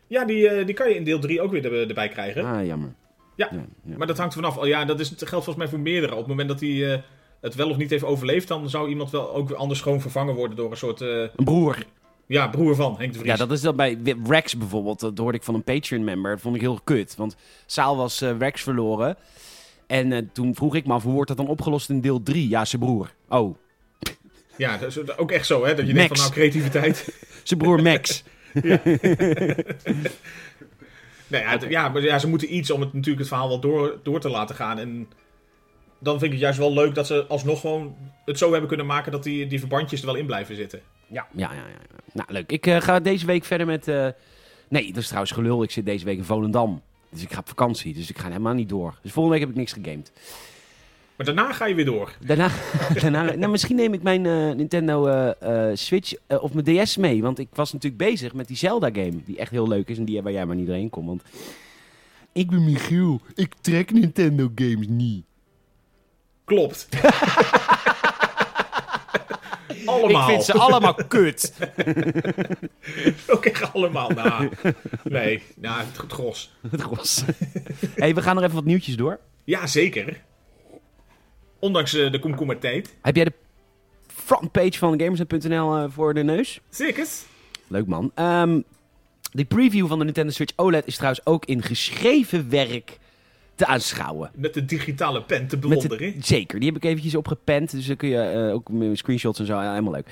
Ja, die, eh, die kan je in deel 3 ook weer er- erbij krijgen.
Ah, jammer.
Ja,
ja.
Maar dat hangt er vanaf. Oh, Ja, dat is, dat geldt volgens mij voor meerdere. Op het moment dat hij eh, het wel of niet heeft overleefd, dan zou iemand wel ook anders gewoon vervangen worden door een soort eh,
Een broer.
ja, broer van Henk de Vries.
Ja, dat is dat bij Wi- Rex bijvoorbeeld. Dat hoorde ik van een Patreon-member. Dat vond ik heel kut. Want Saal was eh, Rex verloren. En eh, toen vroeg ik me af, hoe wordt dat dan opgelost in deel 3? Ja, zijn broer. Oh,
Ja, dat is ook echt zo, hè? Dat je
Max.
denkt van nou,
*laughs*
creativiteit.
zijn
*laughs*
broer Max.
nee, ja, het- ja, maar ja, ze moeten iets om het, natuurlijk het verhaal wel door, door te laten gaan. En dan vind ik het juist wel leuk dat ze alsnog gewoon het zo hebben kunnen maken dat die, die verbandjes er wel in blijven zitten.
Ja, ja, ja. ja. Nou, leuk. Ik eh, ga deze week verder met... eh, Nee, dat is trouwens gelul. Ik zit deze week in Volendam. Dus ik ga op vakantie. Dus ik ga helemaal niet door. Dus volgende week heb ik niks gegamed.
Maar daarna ga je weer door.
Daarna... *laughs* daarna nou, misschien neem ik mijn eh, Nintendo eh, eh, Switch eh, of mijn DS mee. Want ik was natuurlijk bezig met die Zelda-game. Die echt heel leuk is en die waar jij maar niet doorheen komt. Want ik ben Michiel. Ik trek Nintendo-games niet.
Klopt. *laughs* allemaal.
Ik vind ze allemaal *laughs* kut.
Ook echt allemaal.
*laughs*
Nou, nee, nou, het goed gros.
Het gros. hey, we gaan nog even wat nieuwtjes door.
Ja, zeker. Ondanks eh, de komkommertijd.
Heb jij de frontpage van Gamers.nl eh, voor de neus?
Zeker.
Leuk man. Ehm de preview van de Nintendo Switch OLED is trouwens ook in geschreven werk te aanschouwen.
Met de digitale pen te
Met
bewonderen.
het- zeker, die heb ik eventjes opgepend. Dus dan kun je eh, ook met screenshots en zo, ja, helemaal leuk.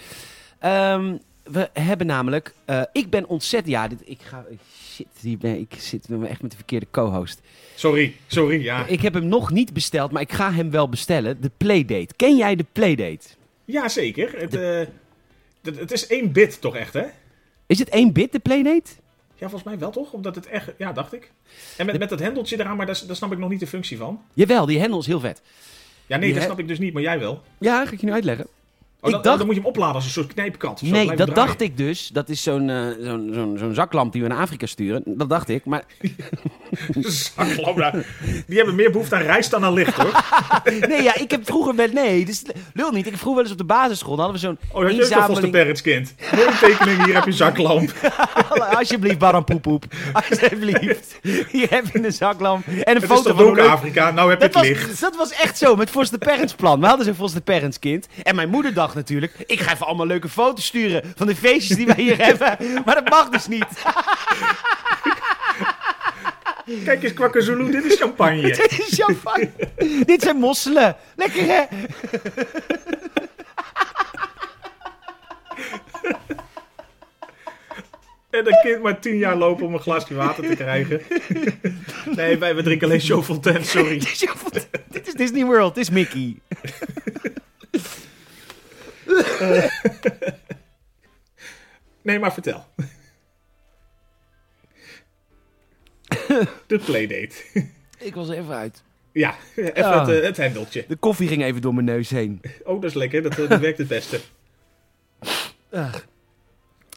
Ehm, we hebben namelijk... eh, ik ben ontzettend... Ja, dit, ik ga... eh, Shit, hier ben, ik zit echt met de verkeerde co-host.
Sorry, sorry, ja.
Ik heb hem nog niet besteld, maar ik ga hem wel bestellen. De Playdate. Ken jij de Playdate?
Ja, zeker. Het, eh, het, het is één bit toch echt, hè?
Is het één bit, de Playdate?
Ja, volgens mij wel toch? Omdat het echt... Ja, dacht ik. En met, met dat hendeltje eraan, maar daar, daar snap ik nog niet de functie van.
Jawel, die hendel is heel vet.
Ja, nee,
Je
dat
he-
snap ik dus niet, maar jij wel. Oh,
Ja, ga ik je nu uitleggen.
dan,
Ik
oh,
dacht-
dan moet je hem opladen als een soort knijpkat.
Nee, dat dacht ik dus. Dat is zo'n eh, zo'n zo'n zo'n zaklamp die we naar Afrika sturen. Dat dacht ik. Maar
*laughs* Die hebben meer behoefte aan rijst dan aan licht, hoor. Oh,
nee, ja, ik heb vroeger wel. Nee, dus lul niet. Ik heb vroeger wel eens op de basisschool. Dan hadden we zo'n.
Oh, dat je ook al
inzameling-
foster parents, kind. Mooi tekening, hier heb je een zaklamp.
Alsjeblieft, Baran Poepoep. Alsjeblieft. Hier heb je een zaklamp. En een
Het is
foto
toch
van hoe
ook
leuk-
Afrika? Nou heb je
Dat
het licht.
was, dat was echt zo, met Foster Parents plan. We hadden zo'n Foster Parents kind. En mijn moeder dacht natuurlijk, ik ga even allemaal leuke foto's sturen van de feestjes die
*laughs*
wij hier hebben. Maar dat mag dus niet. *laughs*
Kijk eens, Kwakke Zulu, dit is champagne.
Dit is champagne. Dit zijn mosselen. Lekker hè?
En dat kind maar tien jaar lopen om een glaasje water te krijgen. Nee, wij we drinken alleen Show Fontaine, sorry.
Dit is jouw fant- Dit is Disney World, dit is Mickey.
Nee, maar vertel. De playdate.
Ik was er even uit.
Ja, even
Ja.
het, eh, het hendeltje.
De koffie ging even door mijn neus heen.
Oh, dat is lekker, dat, eh, dat werkt het beste.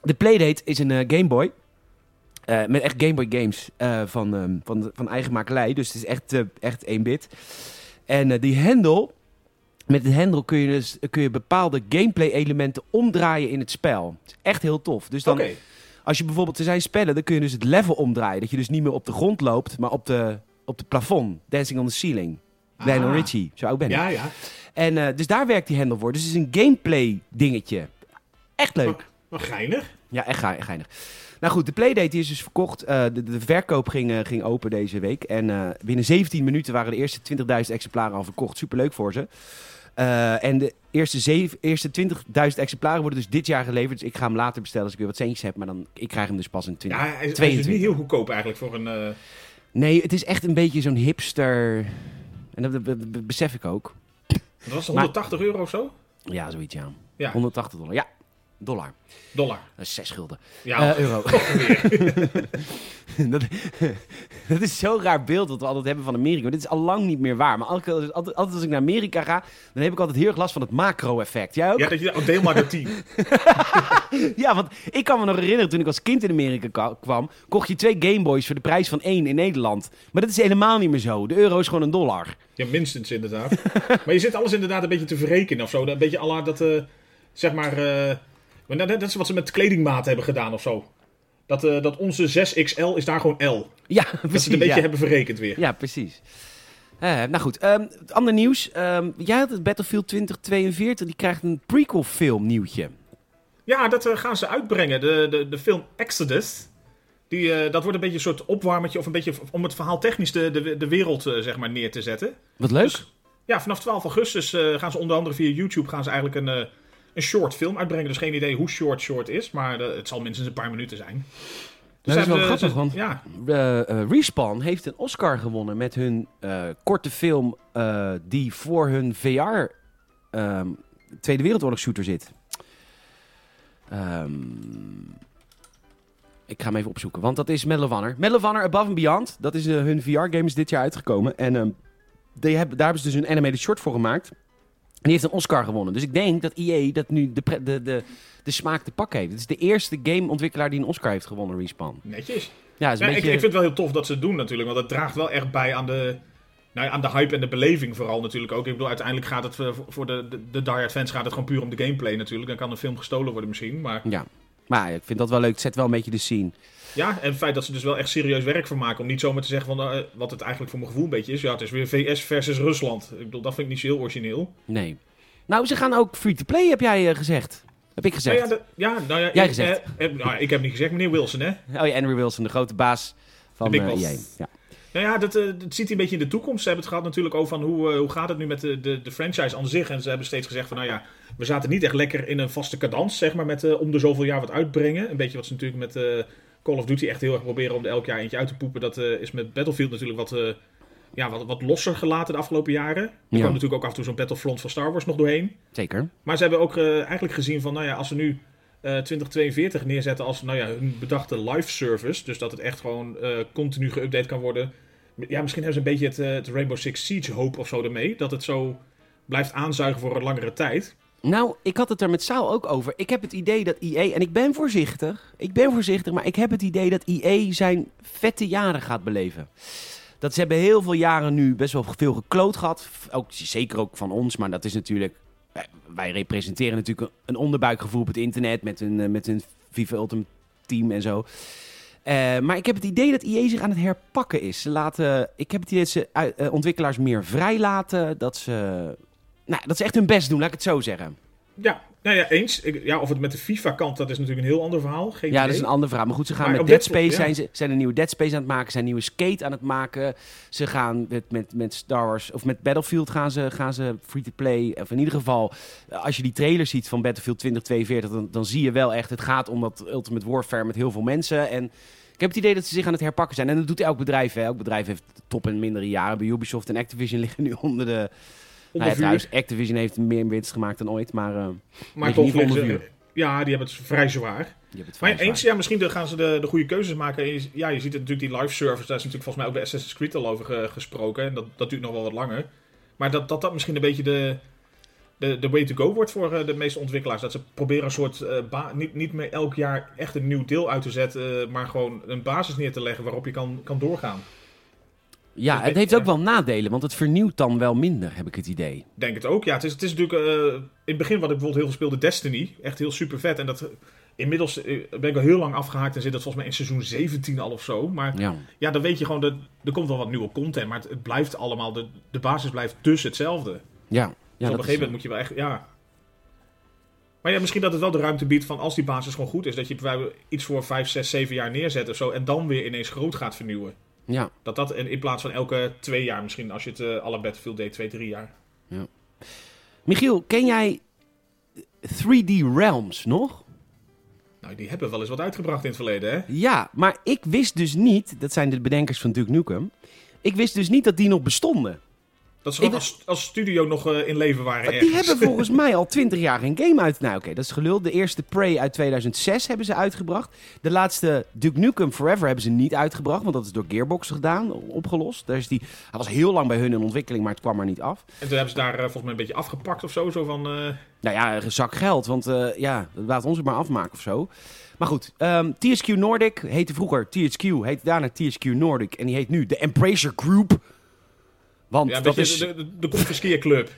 De Playdate is een eh, Game Boy. Eh, met echt Game Boy games eh, van, ehm, van, van eigen makelij. Dus het is echt, eh, echt 1-bit. En eh, die hendel... Met de hendel kun je, dus, kun je bepaalde gameplay elementen omdraaien in het spel. Het is echt heel tof. Dus dan,
Oké,
als je bijvoorbeeld, er zijn spellen, dan kun je dus het level omdraaien. Dat je dus niet meer op de grond loopt, maar op de, op de plafond. Dancing on the ceiling.
Ah.
Lionel Richie, zo oud ben ik.
ja, ja.
En eh, dus daar werkt die hendel voor. Dus het is een gameplay dingetje. Echt leuk.
Maar geinig.
Ja, echt ge- geinig. Nou goed, de Playdate die is dus verkocht. Eh, de, de verkoop ging, eh, ging open deze week. En eh, binnen 17 minuten waren de eerste 20.000 exemplaren al verkocht. Superleuk voor ze. Eh, en de eerste, zeven- eerste 20.000 exemplaren worden dus dit jaar geleverd. Dus ik ga hem later bestellen als ik weer wat centjes heb. Maar dan, ik krijg hem dus pas in 20.
Ja, hij, is- hij is dus
22.
niet heel goedkoop eigenlijk voor een... eh,
Nee, het is echt een beetje zo'n hipster... En dat, be- be- besef ik ook.
dat was
Maar-
180 euro of zo?
Ja, zoiets ja.
Ja.
180 dollar, ja. dollar.
Dollar.
Dat is zes gulden.
Ja,
Eh, euro. *laughs* dat, dat is zo'n raar beeld dat we altijd hebben van Amerika. Maar dit is al lang niet meer waar. Maar altijd, altijd, altijd als ik naar Amerika ga, dan heb ik altijd heel erg last van het macro-effect. Jij ook?
ja dat je... Oh, deel maar door tien.
Ja, want ik kan me nog herinneren toen ik als kind in Amerika ka- kwam, kocht je twee Gameboys voor de prijs van één in Nederland. Maar dat is helemaal niet meer zo. De euro is gewoon een dollar.
Ja, minstens inderdaad. *laughs* maar je zit alles inderdaad een beetje te verrekenen of zo. Een beetje à la dat, eh, zeg maar... eh, maar dat, dat is wat ze met kledingmaat hebben gedaan of zo. Dat, eh, dat onze 6XL is daar gewoon L.
Ja,
Dat
precies.
ze het een beetje
ja.
hebben verrekend weer.
Ja, precies. Eh, nou goed, ehm, ander nieuws. Ehm, jij had het Battlefield 2042, die krijgt een prequel film nieuwtje.
Ja, dat eh, gaan ze uitbrengen. De, de, de film Exodus. Die, eh, dat wordt een beetje een soort opwarmetje. Of een beetje v- om het verhaal technisch de, de, de wereld eh, zeg maar, neer te zetten.
Wat leuk.
Dus- Ja, vanaf 12 augustus eh, gaan ze onder andere via YouTube gaan ze eigenlijk een, eh, een short film uitbrengen. Dus geen idee hoe short short is. Maar eh, het zal minstens een paar minuten zijn. Dus
dat is wel
eh,
grappig,
ze-
want-
Ja,
Eh, eh, Respawn heeft een Oscar gewonnen met hun eh, korte film eh, die voor hun VR ehm, Tweede Wereldoorlog shooter zit. Ehm, ik ga hem even opzoeken, want dat is Medal of Honor. Medal of Honor Above and Beyond, dat is eh, hun VR-game is dit jaar uitgekomen. En ehm, die hebben, daar hebben ze dus een animated short voor gemaakt. En die heeft een Oscar gewonnen. Dus ik denk dat EA dat nu de, pre- de, de, de smaak te pakken heeft. Het is de eerste gameontwikkelaar die een Oscar heeft gewonnen, Respawn.
netjes.
Ja, dat is een
Ja, ik, ik
beetje...
vind het wel heel tof dat ze het doen natuurlijk. Want dat draagt wel echt bij aan de, nou, ja, aan de hype en de beleving vooral natuurlijk ook. Ik bedoel, uiteindelijk gaat het eh, voor- voor de, de, de diehard fans gaat het gewoon puur om de gameplay natuurlijk. Dan kan een film gestolen worden misschien. Maar
Ja. Maar ja, ik vind dat wel leuk. Het zet wel een beetje de scene.
ja, en het feit dat ze dus wel echt serieus werk van maken. Om niet zomaar te zeggen van, eh, wat het eigenlijk voor mijn gevoel een beetje is. Ja, het is weer VS versus Rusland. Ik bedoel, dat vind ik niet zo heel origineel.
Nee. Nou, ze gaan ook free-to-play, heb jij eh, gezegd. Heb ik gezegd.
Nou ja, de- ja, nou ja,
Jij
ik,
gezegd.
eh, eh, nou, ja, ik heb niet gezegd, meneer Wilson hè.
Oh ja, Henry Wilson, de grote baas van
De
eh
big boss.
EA. Ja.
Nou ja, dat, eh, dat ziet hij een beetje in de toekomst. Ze hebben het gehad natuurlijk over van hoe, eh, hoe gaat het nu met de, de, de franchise aan zich. En ze hebben steeds gezegd van nou ja, we zaten niet echt lekker in een vaste cadans, zeg maar, met eh, om de zoveel jaar wat uitbrengen. Een beetje wat ze natuurlijk met eh, Call of Duty echt heel erg proberen om er elk jaar eentje uit te poepen. Dat eh, is met Battlefield natuurlijk wat, eh, ja, wat, wat losser gelaten de afgelopen jaren. Er
Ja.
kwam natuurlijk ook af en toe zo'n Battlefront van Star Wars nog doorheen.
Zeker.
Maar ze hebben ook eh, eigenlijk gezien van, nou ja, als ze nu eh, 2042 neerzetten als nou ja, hun bedachte live service, dus dat het echt gewoon eh, continu geüpdate kan worden. Ja, misschien hebben ze een beetje het, eh, het Rainbow Six Siege hoop of zo ermee, dat het zo blijft aanzuigen voor een langere tijd.
Nou, ik had het er met Saal ook over. Ik heb het idee dat EA, en ik ben voorzichtig, ik ben voorzichtig, maar ik heb het idee dat EA zijn vette jaren gaat beleven. Dat ze hebben heel veel jaren nu best wel veel gekloot gehad. F- Ook, zeker ook van ons, maar dat is natuurlijk... wij- Wij representeren natuurlijk een- een onderbuikgevoel op het internet met hun, eh, met hun FIFA Ultimate Team en zo. Eh, maar ik heb het idee dat EA zich aan het herpakken is. Ze laten, ik heb het idee dat ze uit- eh, ontwikkelaars meer vrij laten. Dat ze, nou, dat ze echt hun best doen, laat ik het zo zeggen.
Ja, nou ja, eens. Ik- ja, of het met de FIFA-kant, dat is natuurlijk een heel ander verhaal. Geen
Ja,
idee.
dat is een andere vraag. Maar goed, ze gaan
Maar
met
op
Dead
dit-
Space,
ja.
zijn, ze, zijn een nieuwe Dead Space aan het maken, zijn nieuwe Skate aan het maken. Ze gaan met, met, met Star Wars, of met Battlefield gaan ze, gaan ze free-to-play. Of in ieder geval, eh, als je die trailer ziet van Battlefield 2042, dan, dan zie je wel echt, het gaat om dat Ultimate Warfare met heel veel mensen. En ik heb het idee dat ze zich aan het herpakken zijn. En dat doet elk bedrijf, hè. Elk bedrijf heeft top- en mindere jaren. Bij Ubisoft en Activision *laughs* liggen nu onder de...
Onder
Nou ja,
vuur.
trouwens, Activision heeft meer winst gemaakt dan ooit, maar... eh,
maar
ligt in
toch,
ieder geval
liggen
onder
ze- ja, die hebben het vrij zwaar.
je hebt het
Maar
vrij zwaar.
eens, ja, misschien de- gaan ze de, de goede keuzes maken. En je- Ja, je ziet het natuurlijk, die live service, daar is natuurlijk volgens mij ook bij Assassin's Creed al over ge- gesproken. En dat, dat duurt nog wel wat langer. Maar dat dat, dat misschien een beetje de, de, de way to go wordt voor eh, de meeste ontwikkelaars. Dat ze proberen een soort, eh, ba- niet, niet meer elk jaar echt een nieuw deel uit te zetten, eh, maar gewoon een basis neer te leggen waarop je kan, kan doorgaan.
Ja,
Dus
het
weet-
heeft ook
ja.
wel nadelen, want het vernieuwt dan wel minder, heb ik het idee.
Ik Denk het ook, ja. Het is, het is natuurlijk, eh, in het begin wat ik bijvoorbeeld heel veel speelde, Destiny. Echt heel super vet. En dat, eh, inmiddels eh, ben ik al heel lang afgehaakt en zit dat volgens mij in seizoen 17 al of zo. Maar
Ja.
Ja, dan weet je gewoon, dat er komt wel wat nieuwe content, maar het, het blijft allemaal, de, de basis blijft dus hetzelfde. dus
Ja. Ja, dat
op een gegeven
is- eh,
moment moet je wel echt, ja. Maar ja, misschien dat het wel de ruimte biedt van als die basis gewoon goed is, dat je bijvoorbeeld iets voor 5, 6, 7 jaar neerzet of zo en dan weer ineens groot gaat vernieuwen.
ja.
Dat dat in, in plaats van elke twee jaar misschien, als je het eh alle Battlefield deed, twee, drie jaar.
Michiel, ken jij 3D Realms nog?
Nou, die hebben wel eens wat uitgebracht in het verleden, hè?
Ja, maar ik wist dus niet, dat zijn de bedenkers van Duke Nukem, ik wist dus niet dat die nog bestonden.
Dat ze gewoon
Ik
als, als studio nog eh, in leven waren
Maar
ergens.
die hebben volgens mij al twintig jaar geen game uit. Nou, oké, dat is gelul. De eerste Prey uit 2006 hebben ze uitgebracht. De laatste Duke Nukem Forever hebben ze niet uitgebracht, want dat is door Gearbox gedaan, opgelost. Daar is die, hij was heel lang bij hun in ontwikkeling, maar het kwam er niet af.
*laughs* En toen hebben ze daar eh, volgens mij een beetje afgepakt of zo. zo van, eh,
Nou ja, een zak geld, want eh, ja, laat ons het maar afmaken of zo. Maar goed, ehm, THQ Nordic heette vroeger THQ, heette daarna THQ Nordic en die heet nu de Embracer Group. Want
ja, een
dat
beetje
is...
de, de, de confiskeerclub.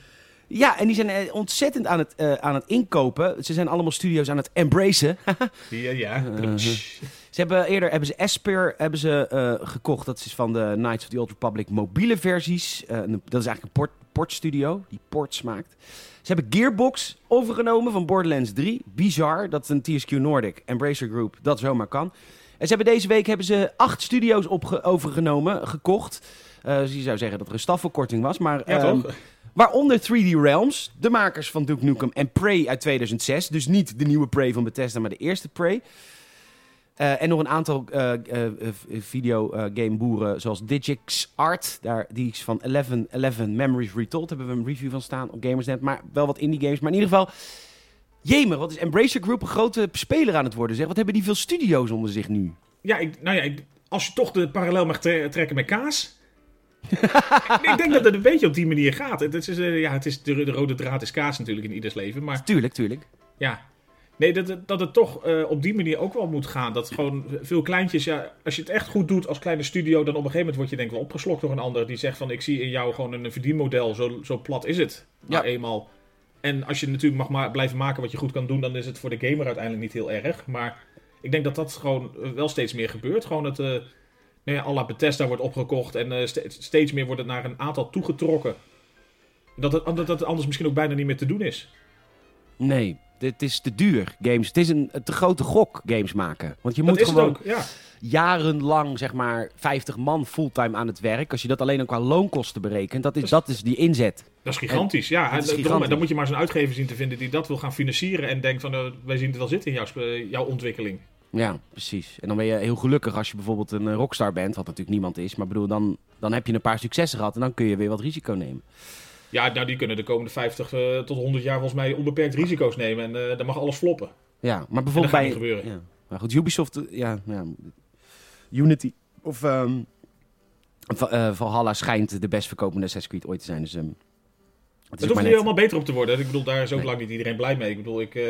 Ja, en die zijn eh, ontzettend aan het, eh, aan het inkopen. Ze zijn allemaal studio's aan het embracen.
Ja, eh,
*laughs*
ja.
Uh-huh. Ze hebben eerder hebben ze Esper hebben ze, eh, gekocht. Dat is van de Knights of the Old Republic mobiele versies. Eh, een- dat is eigenlijk een port, portstudio die ports maakt. Ze hebben Gearbox overgenomen van Borderlands 3. Bizar dat een TSQ Nordic Embracer Group dat zomaar kan. En ze hebben deze week hebben ze acht studio's opge- overgenomen, gekocht. Eh, dus je zou zeggen dat er een stafverkorting was, maar...
ja,
ehm,
toch?
Waaronder 3D Realms, de makers van Duke Nukem en Prey uit 2006. Dus niet de nieuwe Prey van Bethesda, maar de eerste Prey. Eh, en nog een aantal eh videogameboeren zoals Digix Art. Daar, die is van 1111 Memories Retold. Daar hebben we een review van staan op Gamersnet. Maar wel wat indie games. Maar in ieder geval... Jemer, wat is Embracer Group een grote speler aan het worden? Zeg, wat hebben die veel studio's onder zich nu?
Ja, ik, nou ja, ik- als je toch de parallel mag tre- trekken met
*laughs*
kaas. ik denk dat het een beetje op die manier gaat. Het is, eh, ja, het is de, de rode draad is kaas natuurlijk in ieders leven. Maar
Tuurlijk, tuurlijk.
ja, nee, dat, het- dat het toch eh, op die manier ook wel moet gaan. Dat gewoon veel kleintjes, ja, als je het echt goed doet als kleine studio, dan op een gegeven moment word je denk ik wel opgeslokt door een ander. Die zegt van, ik zie in jou gewoon een verdienmodel, zo, zo plat is het. Nou
Ja.
eenmaal. En als je natuurlijk mag ma- blijven maken wat je goed kan doen, dan is het voor de gamer uiteindelijk niet heel erg. Maar ik denk dat dat gewoon eh, wel steeds meer gebeurt. Gewoon dat, eh nou ja, à la Bethesda wordt opgekocht en eh, ste- steeds meer wordt het naar een aantal toegetrokken. Dat het, dat het anders misschien ook bijna niet meer te doen is.
Nee, het is te duur, games. Het is een te grote gok, games maken. Want je
Dat
moet
is
gewoon...
het ook, ja.
jarenlang, zeg maar, 50 man fulltime aan het werk. Als je dat alleen al qua loonkosten berekent, dat
Dus-
is, dat is die inzet.
Dat is gigantisch, ja.
dat is
Daarom-
gigantisch.
Dan moet je maar eens een uitgever zien te vinden die dat wil gaan financieren. En denkt van, eh, wij zien het wel zitten in jouw, sp- eh, jouw ontwikkeling.
Ja, precies. En dan ben je heel gelukkig als je bijvoorbeeld een eh, rockstar bent, wat natuurlijk niemand is. Maar bedoel, dan, dan heb je een paar successen gehad en dan kun je weer wat risico nemen.
Ja, nou die kunnen de komende 50 eh, tot 100 jaar volgens mij onbeperkt risico's nemen. En eh, dan mag alles floppen.
Ja, maar bijvoorbeeld
En
bij...
dat gaat niet gebeuren.
Ja. Maar goed, Ubisoft, eh, ja, ja Unity of ehm, Va- eh, Valhalla schijnt de best verkopende Assassin's Creed ooit te zijn. Dus, ehm, het
Het
ook
hoeft
maar
niet
net-
helemaal beter op te worden. Ik bedoel, daar is ook
Nee.
lang niet iedereen blij mee. Ik bedoel, ik, eh,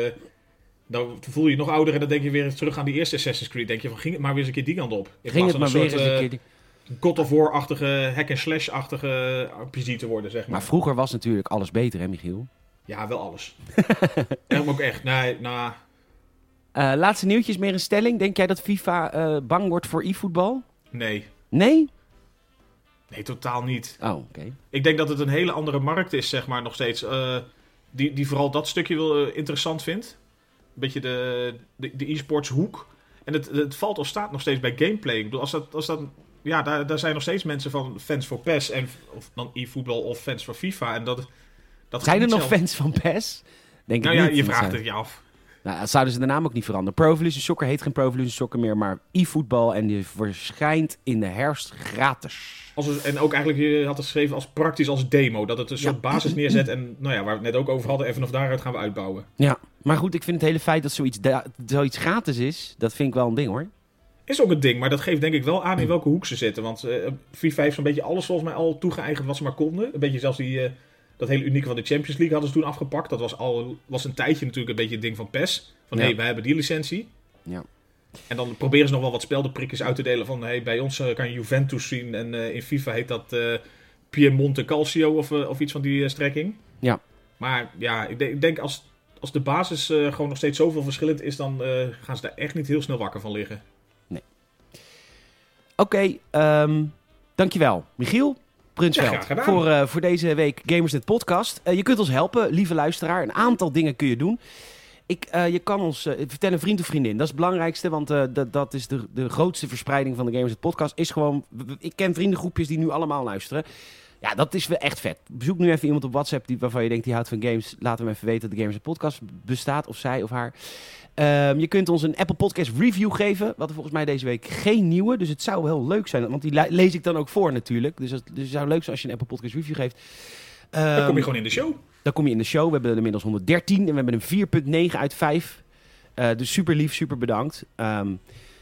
dan voel je je nog ouder en dan denk je weer terug aan die eerste Assassin's Creed. denk je van, ging het maar weer eens een keer die kant op. In
Ging
plaats
het
van
maar weer
een
eens
soort
een
eh,
keer... die-
God of War-achtige, hack-and-slash-achtige RPG te worden, zeg maar.
Maar vroeger was natuurlijk alles beter, hè, Michiel?
Ja, wel
*laughs*
alles. en ook echt, nee, nou...
Eh, laatste nieuwtje is meer een stelling. Denk jij dat FIFA eh, bang wordt voor e-voetbal?
Nee,
Nee?
nee, totaal niet.
Oh, oké.
Ik denk dat het een hele andere markt is, zeg maar, nog steeds. eh, die, die vooral dat stukje wel eh, interessant vindt. Een beetje de, de, de e-sports hoek. En het, het valt of staat nog steeds bij gameplay. Ik bedoel, als dat, als dat, ja, daar, daar zijn nog steeds mensen van fans voor PES en of dan e-voetbal of fans voor FIFA. En dat, dat
Zijn er
gaat niet
nog
zelf-
fans van PES? Denk
Nou
ik
ja,
niet.
je
Dat
vraagt
zijn-
het je af.
Nou, dat zouden ze de naam ook niet veranderen. Pro Evolution Soccer heet geen Pro Evolution Soccer meer, maar e-voetbal. En die verschijnt in de herfst gratis.
Als een- en ook eigenlijk, je had het geschreven als praktisch als demo. Dat het een soort basis neerzet. En nou ja, waar we het net ook over hadden. En vanaf daaruit gaan we uitbouwen.
Ja, maar goed, ik vind het hele feit dat zoiets, da- zoiets gratis is, dat vind ik wel een ding hoor.
Is ook een ding, maar dat geeft denk ik wel aan
Hmm.
in welke hoek ze zitten. Want eh FIFA heeft zo'n beetje alles volgens mij al toegeëigend wat ze maar konden. Een beetje zelfs die, eh, dat hele unieke van de Champions League hadden ze toen afgepakt. Dat was, al, was een tijdje natuurlijk een beetje het ding van PES. Van
Ja.
hé, hey, wij hebben die licentie.
Ja.
En dan proberen ze nog wel wat speldenprikjes uit te delen. Van hé, hey, bij ons eh, kan je Juventus zien. En eh, in FIFA heet dat eh, Piemonte Calcio of, eh, of iets van die eh, strekking.
Ja.
Maar ja, ik, denk- ik denk als, als de basis eh, gewoon nog steeds zoveel verschillend is... dan eh, gaan ze daar echt niet heel snel wakker van liggen.
Oké, ehm dankjewel. Michiel
Ja,
Brunsveld
graag gedaan.
voor, eh, voor deze week Gamersnet Podcast. Eh, je kunt ons helpen, lieve luisteraar. Een aantal dingen kun je doen. Ik, eh, je kan ons eh, vertel een vriend of vriendin. Dat is het belangrijkste, want eh, dat, dat is de, de grootste verspreiding van de Gamersnet Podcast. Is gewoon, w- w- ik ken vriendengroepjes die nu allemaal luisteren. Ja, Ja, dat is wel echt vet. Zoek nu even iemand op WhatsApp die, waarvan je denkt die houdt van games. Laat hem even weten dat de Gamers Net Podcast bestaat, of zij of haar. Ehm, je kunt ons een Apple Podcast review geven. Wat er volgens mij deze week geen nieuwe. Dus het zou heel leuk zijn. Want die le- lees ik dan ook voor natuurlijk. Dus, dat, dus het zou leuk zijn als je een Apple Podcast review geeft.
Dan kom
Ehm,
je gewoon in de show.
dan kom je in de show. We hebben er inmiddels 113 en we hebben een 4,9 uit 5. Eh, dus super lief, super bedankt. Ehm,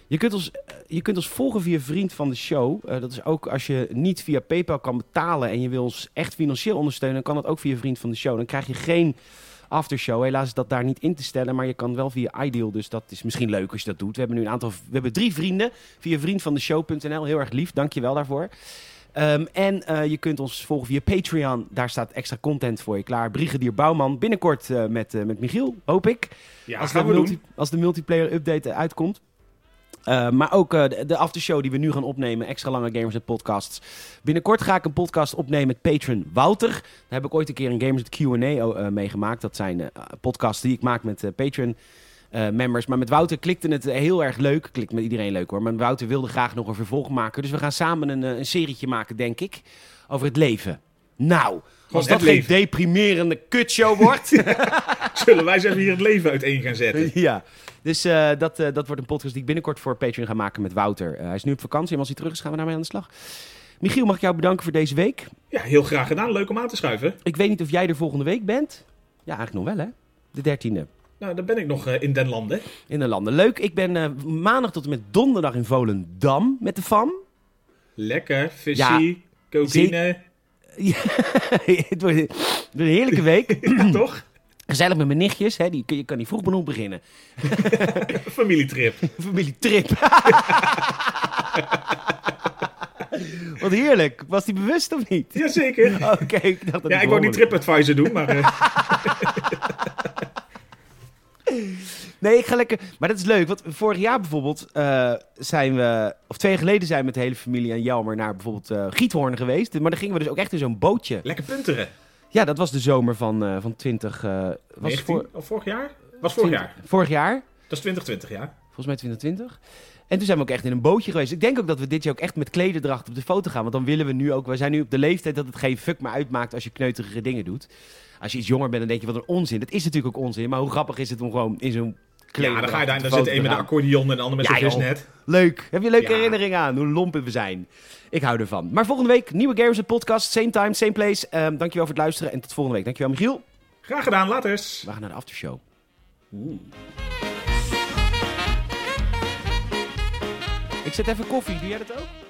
je, kunt ons, eh, je kunt ons volgen via Vriend van de Show. Eh, dat is ook als je niet via PayPal kan betalen en je wil ons echt financieel ondersteunen, dan kan dat ook via Vriend van de Show. Dan krijg je geen aftershow. Helaas is dat daar niet in te stellen, maar je kan wel via Ideal. Dus dat is misschien leuk als je dat doet. We hebben nu een aantal, we hebben drie vrienden via vriendvandeshow.nl. Heel erg lief, dankjewel daarvoor. Ehm, en eh, je kunt ons volgen via Patreon. Daar staat extra content voor je klaar. Brigadier Bouwman binnenkort eh, met, eh, met Michiel, hoop ik.
Ja,
als,
gaan
de
we
multi-
doen.
als de multiplayer update eh, uitkomt. Eh, maar ook eh, de, de aftershow die we nu gaan opnemen, extra lange Gamers en Podcasts. Binnenkort ga ik een podcast opnemen met patron Wouter. Daar heb ik ooit een keer een Gamers Q&A o- eh, meegemaakt. Dat zijn eh, podcasts die ik maak met eh, patron eh, members. Maar met Wouter klikte het eh, heel erg leuk. Klikt met iedereen leuk hoor. Maar Wouter wilde graag nog een vervolg maken. Dus we gaan samen een, eh, een serietje maken, denk ik. Over het leven. Nou, als
het
dat geen
leven.
deprimerende kutshow wordt.
Zullen wij eens even hier het leven uiteen gaan zetten?
*laughs* Ja, dus eh, dat, eh, dat wordt een podcast die ik binnenkort voor Patreon ga maken met Wouter. Eh, hij is nu op vakantie en als hij terug is, gaan we daarmee aan de slag. Michiel, mag ik jou bedanken voor deze week?
Ja, heel graag gedaan. Leuk om aan te schuiven.
Ik weet niet of jij er volgende week bent. Ja, eigenlijk nog wel, hè? De dertiende.
Nou, dan ben ik nog eh, in den landen.
In de landen. Leuk. Ik ben eh, maandag tot en met donderdag in Volendam met de FAM. *laughs*
Lekker, visie, cocaïne.
het wordt het wordt een heerlijke week. *laughs*
*laughs* Ja, toch?
Gezellig met mijn nichtjes. Hè? Die, kun- je kan niet vroeg genoeg beginnen.
Familietrip.
*laughs* Familietrip. *laughs* Wat heerlijk. Was die bewust of *laughs* niet?
Jazeker.
Oké, ik dacht dat
Ja, ik wou die
hoorde.
TripAdvisor doen, maar
*laughs*
eh,
Nee, ik ga lekker. Maar dat is leuk, want vorig jaar bijvoorbeeld eh, zijn we, of twee jaar geleden zijn we met de hele familie en Jelmer naar bijvoorbeeld eh, Giethoorn geweest. Maar dan gingen we dus ook echt in zo'n bootje.
lekker punteren.
Ja, dat was de zomer van, eh, van 20. eh, was het
19?
voor,
Of vorig jaar? Was vorig jaar.
vorig jaar,
Dat is 2020, ja.
volgens mij 2020. En toen zijn we ook echt in een bootje geweest. Ik denk ook dat we dit jaar ook echt met klederdracht op de foto gaan. Want dan willen we nu ook, we zijn nu op de leeftijd dat het geen fuck meer uitmaakt als je kneuterige dingen doet. Als je iets jonger bent, dan denk je wat een onzin. Dat is natuurlijk ook onzin, maar hoe grappig is het om gewoon in zo'n
Ja, dan
klederdracht
ga je daar en
op de
dan zit
foto
een
te
met een
gaan.
accordeon en de ander met
Ja,
zijn
joh.
visnet.
Leuk. Heb je een leuke
Ja.
herinnering aan hoe lompen we zijn? Ik hou ervan. Maar volgende week nieuwe Gamers en Podcast. Same time, same place. Ehm, dankjewel voor het luisteren en tot volgende week. Dankjewel Michiel.
Graag gedaan, laters.
We gaan naar de aftershow. Ik zet even koffie. Doe jij dat ook?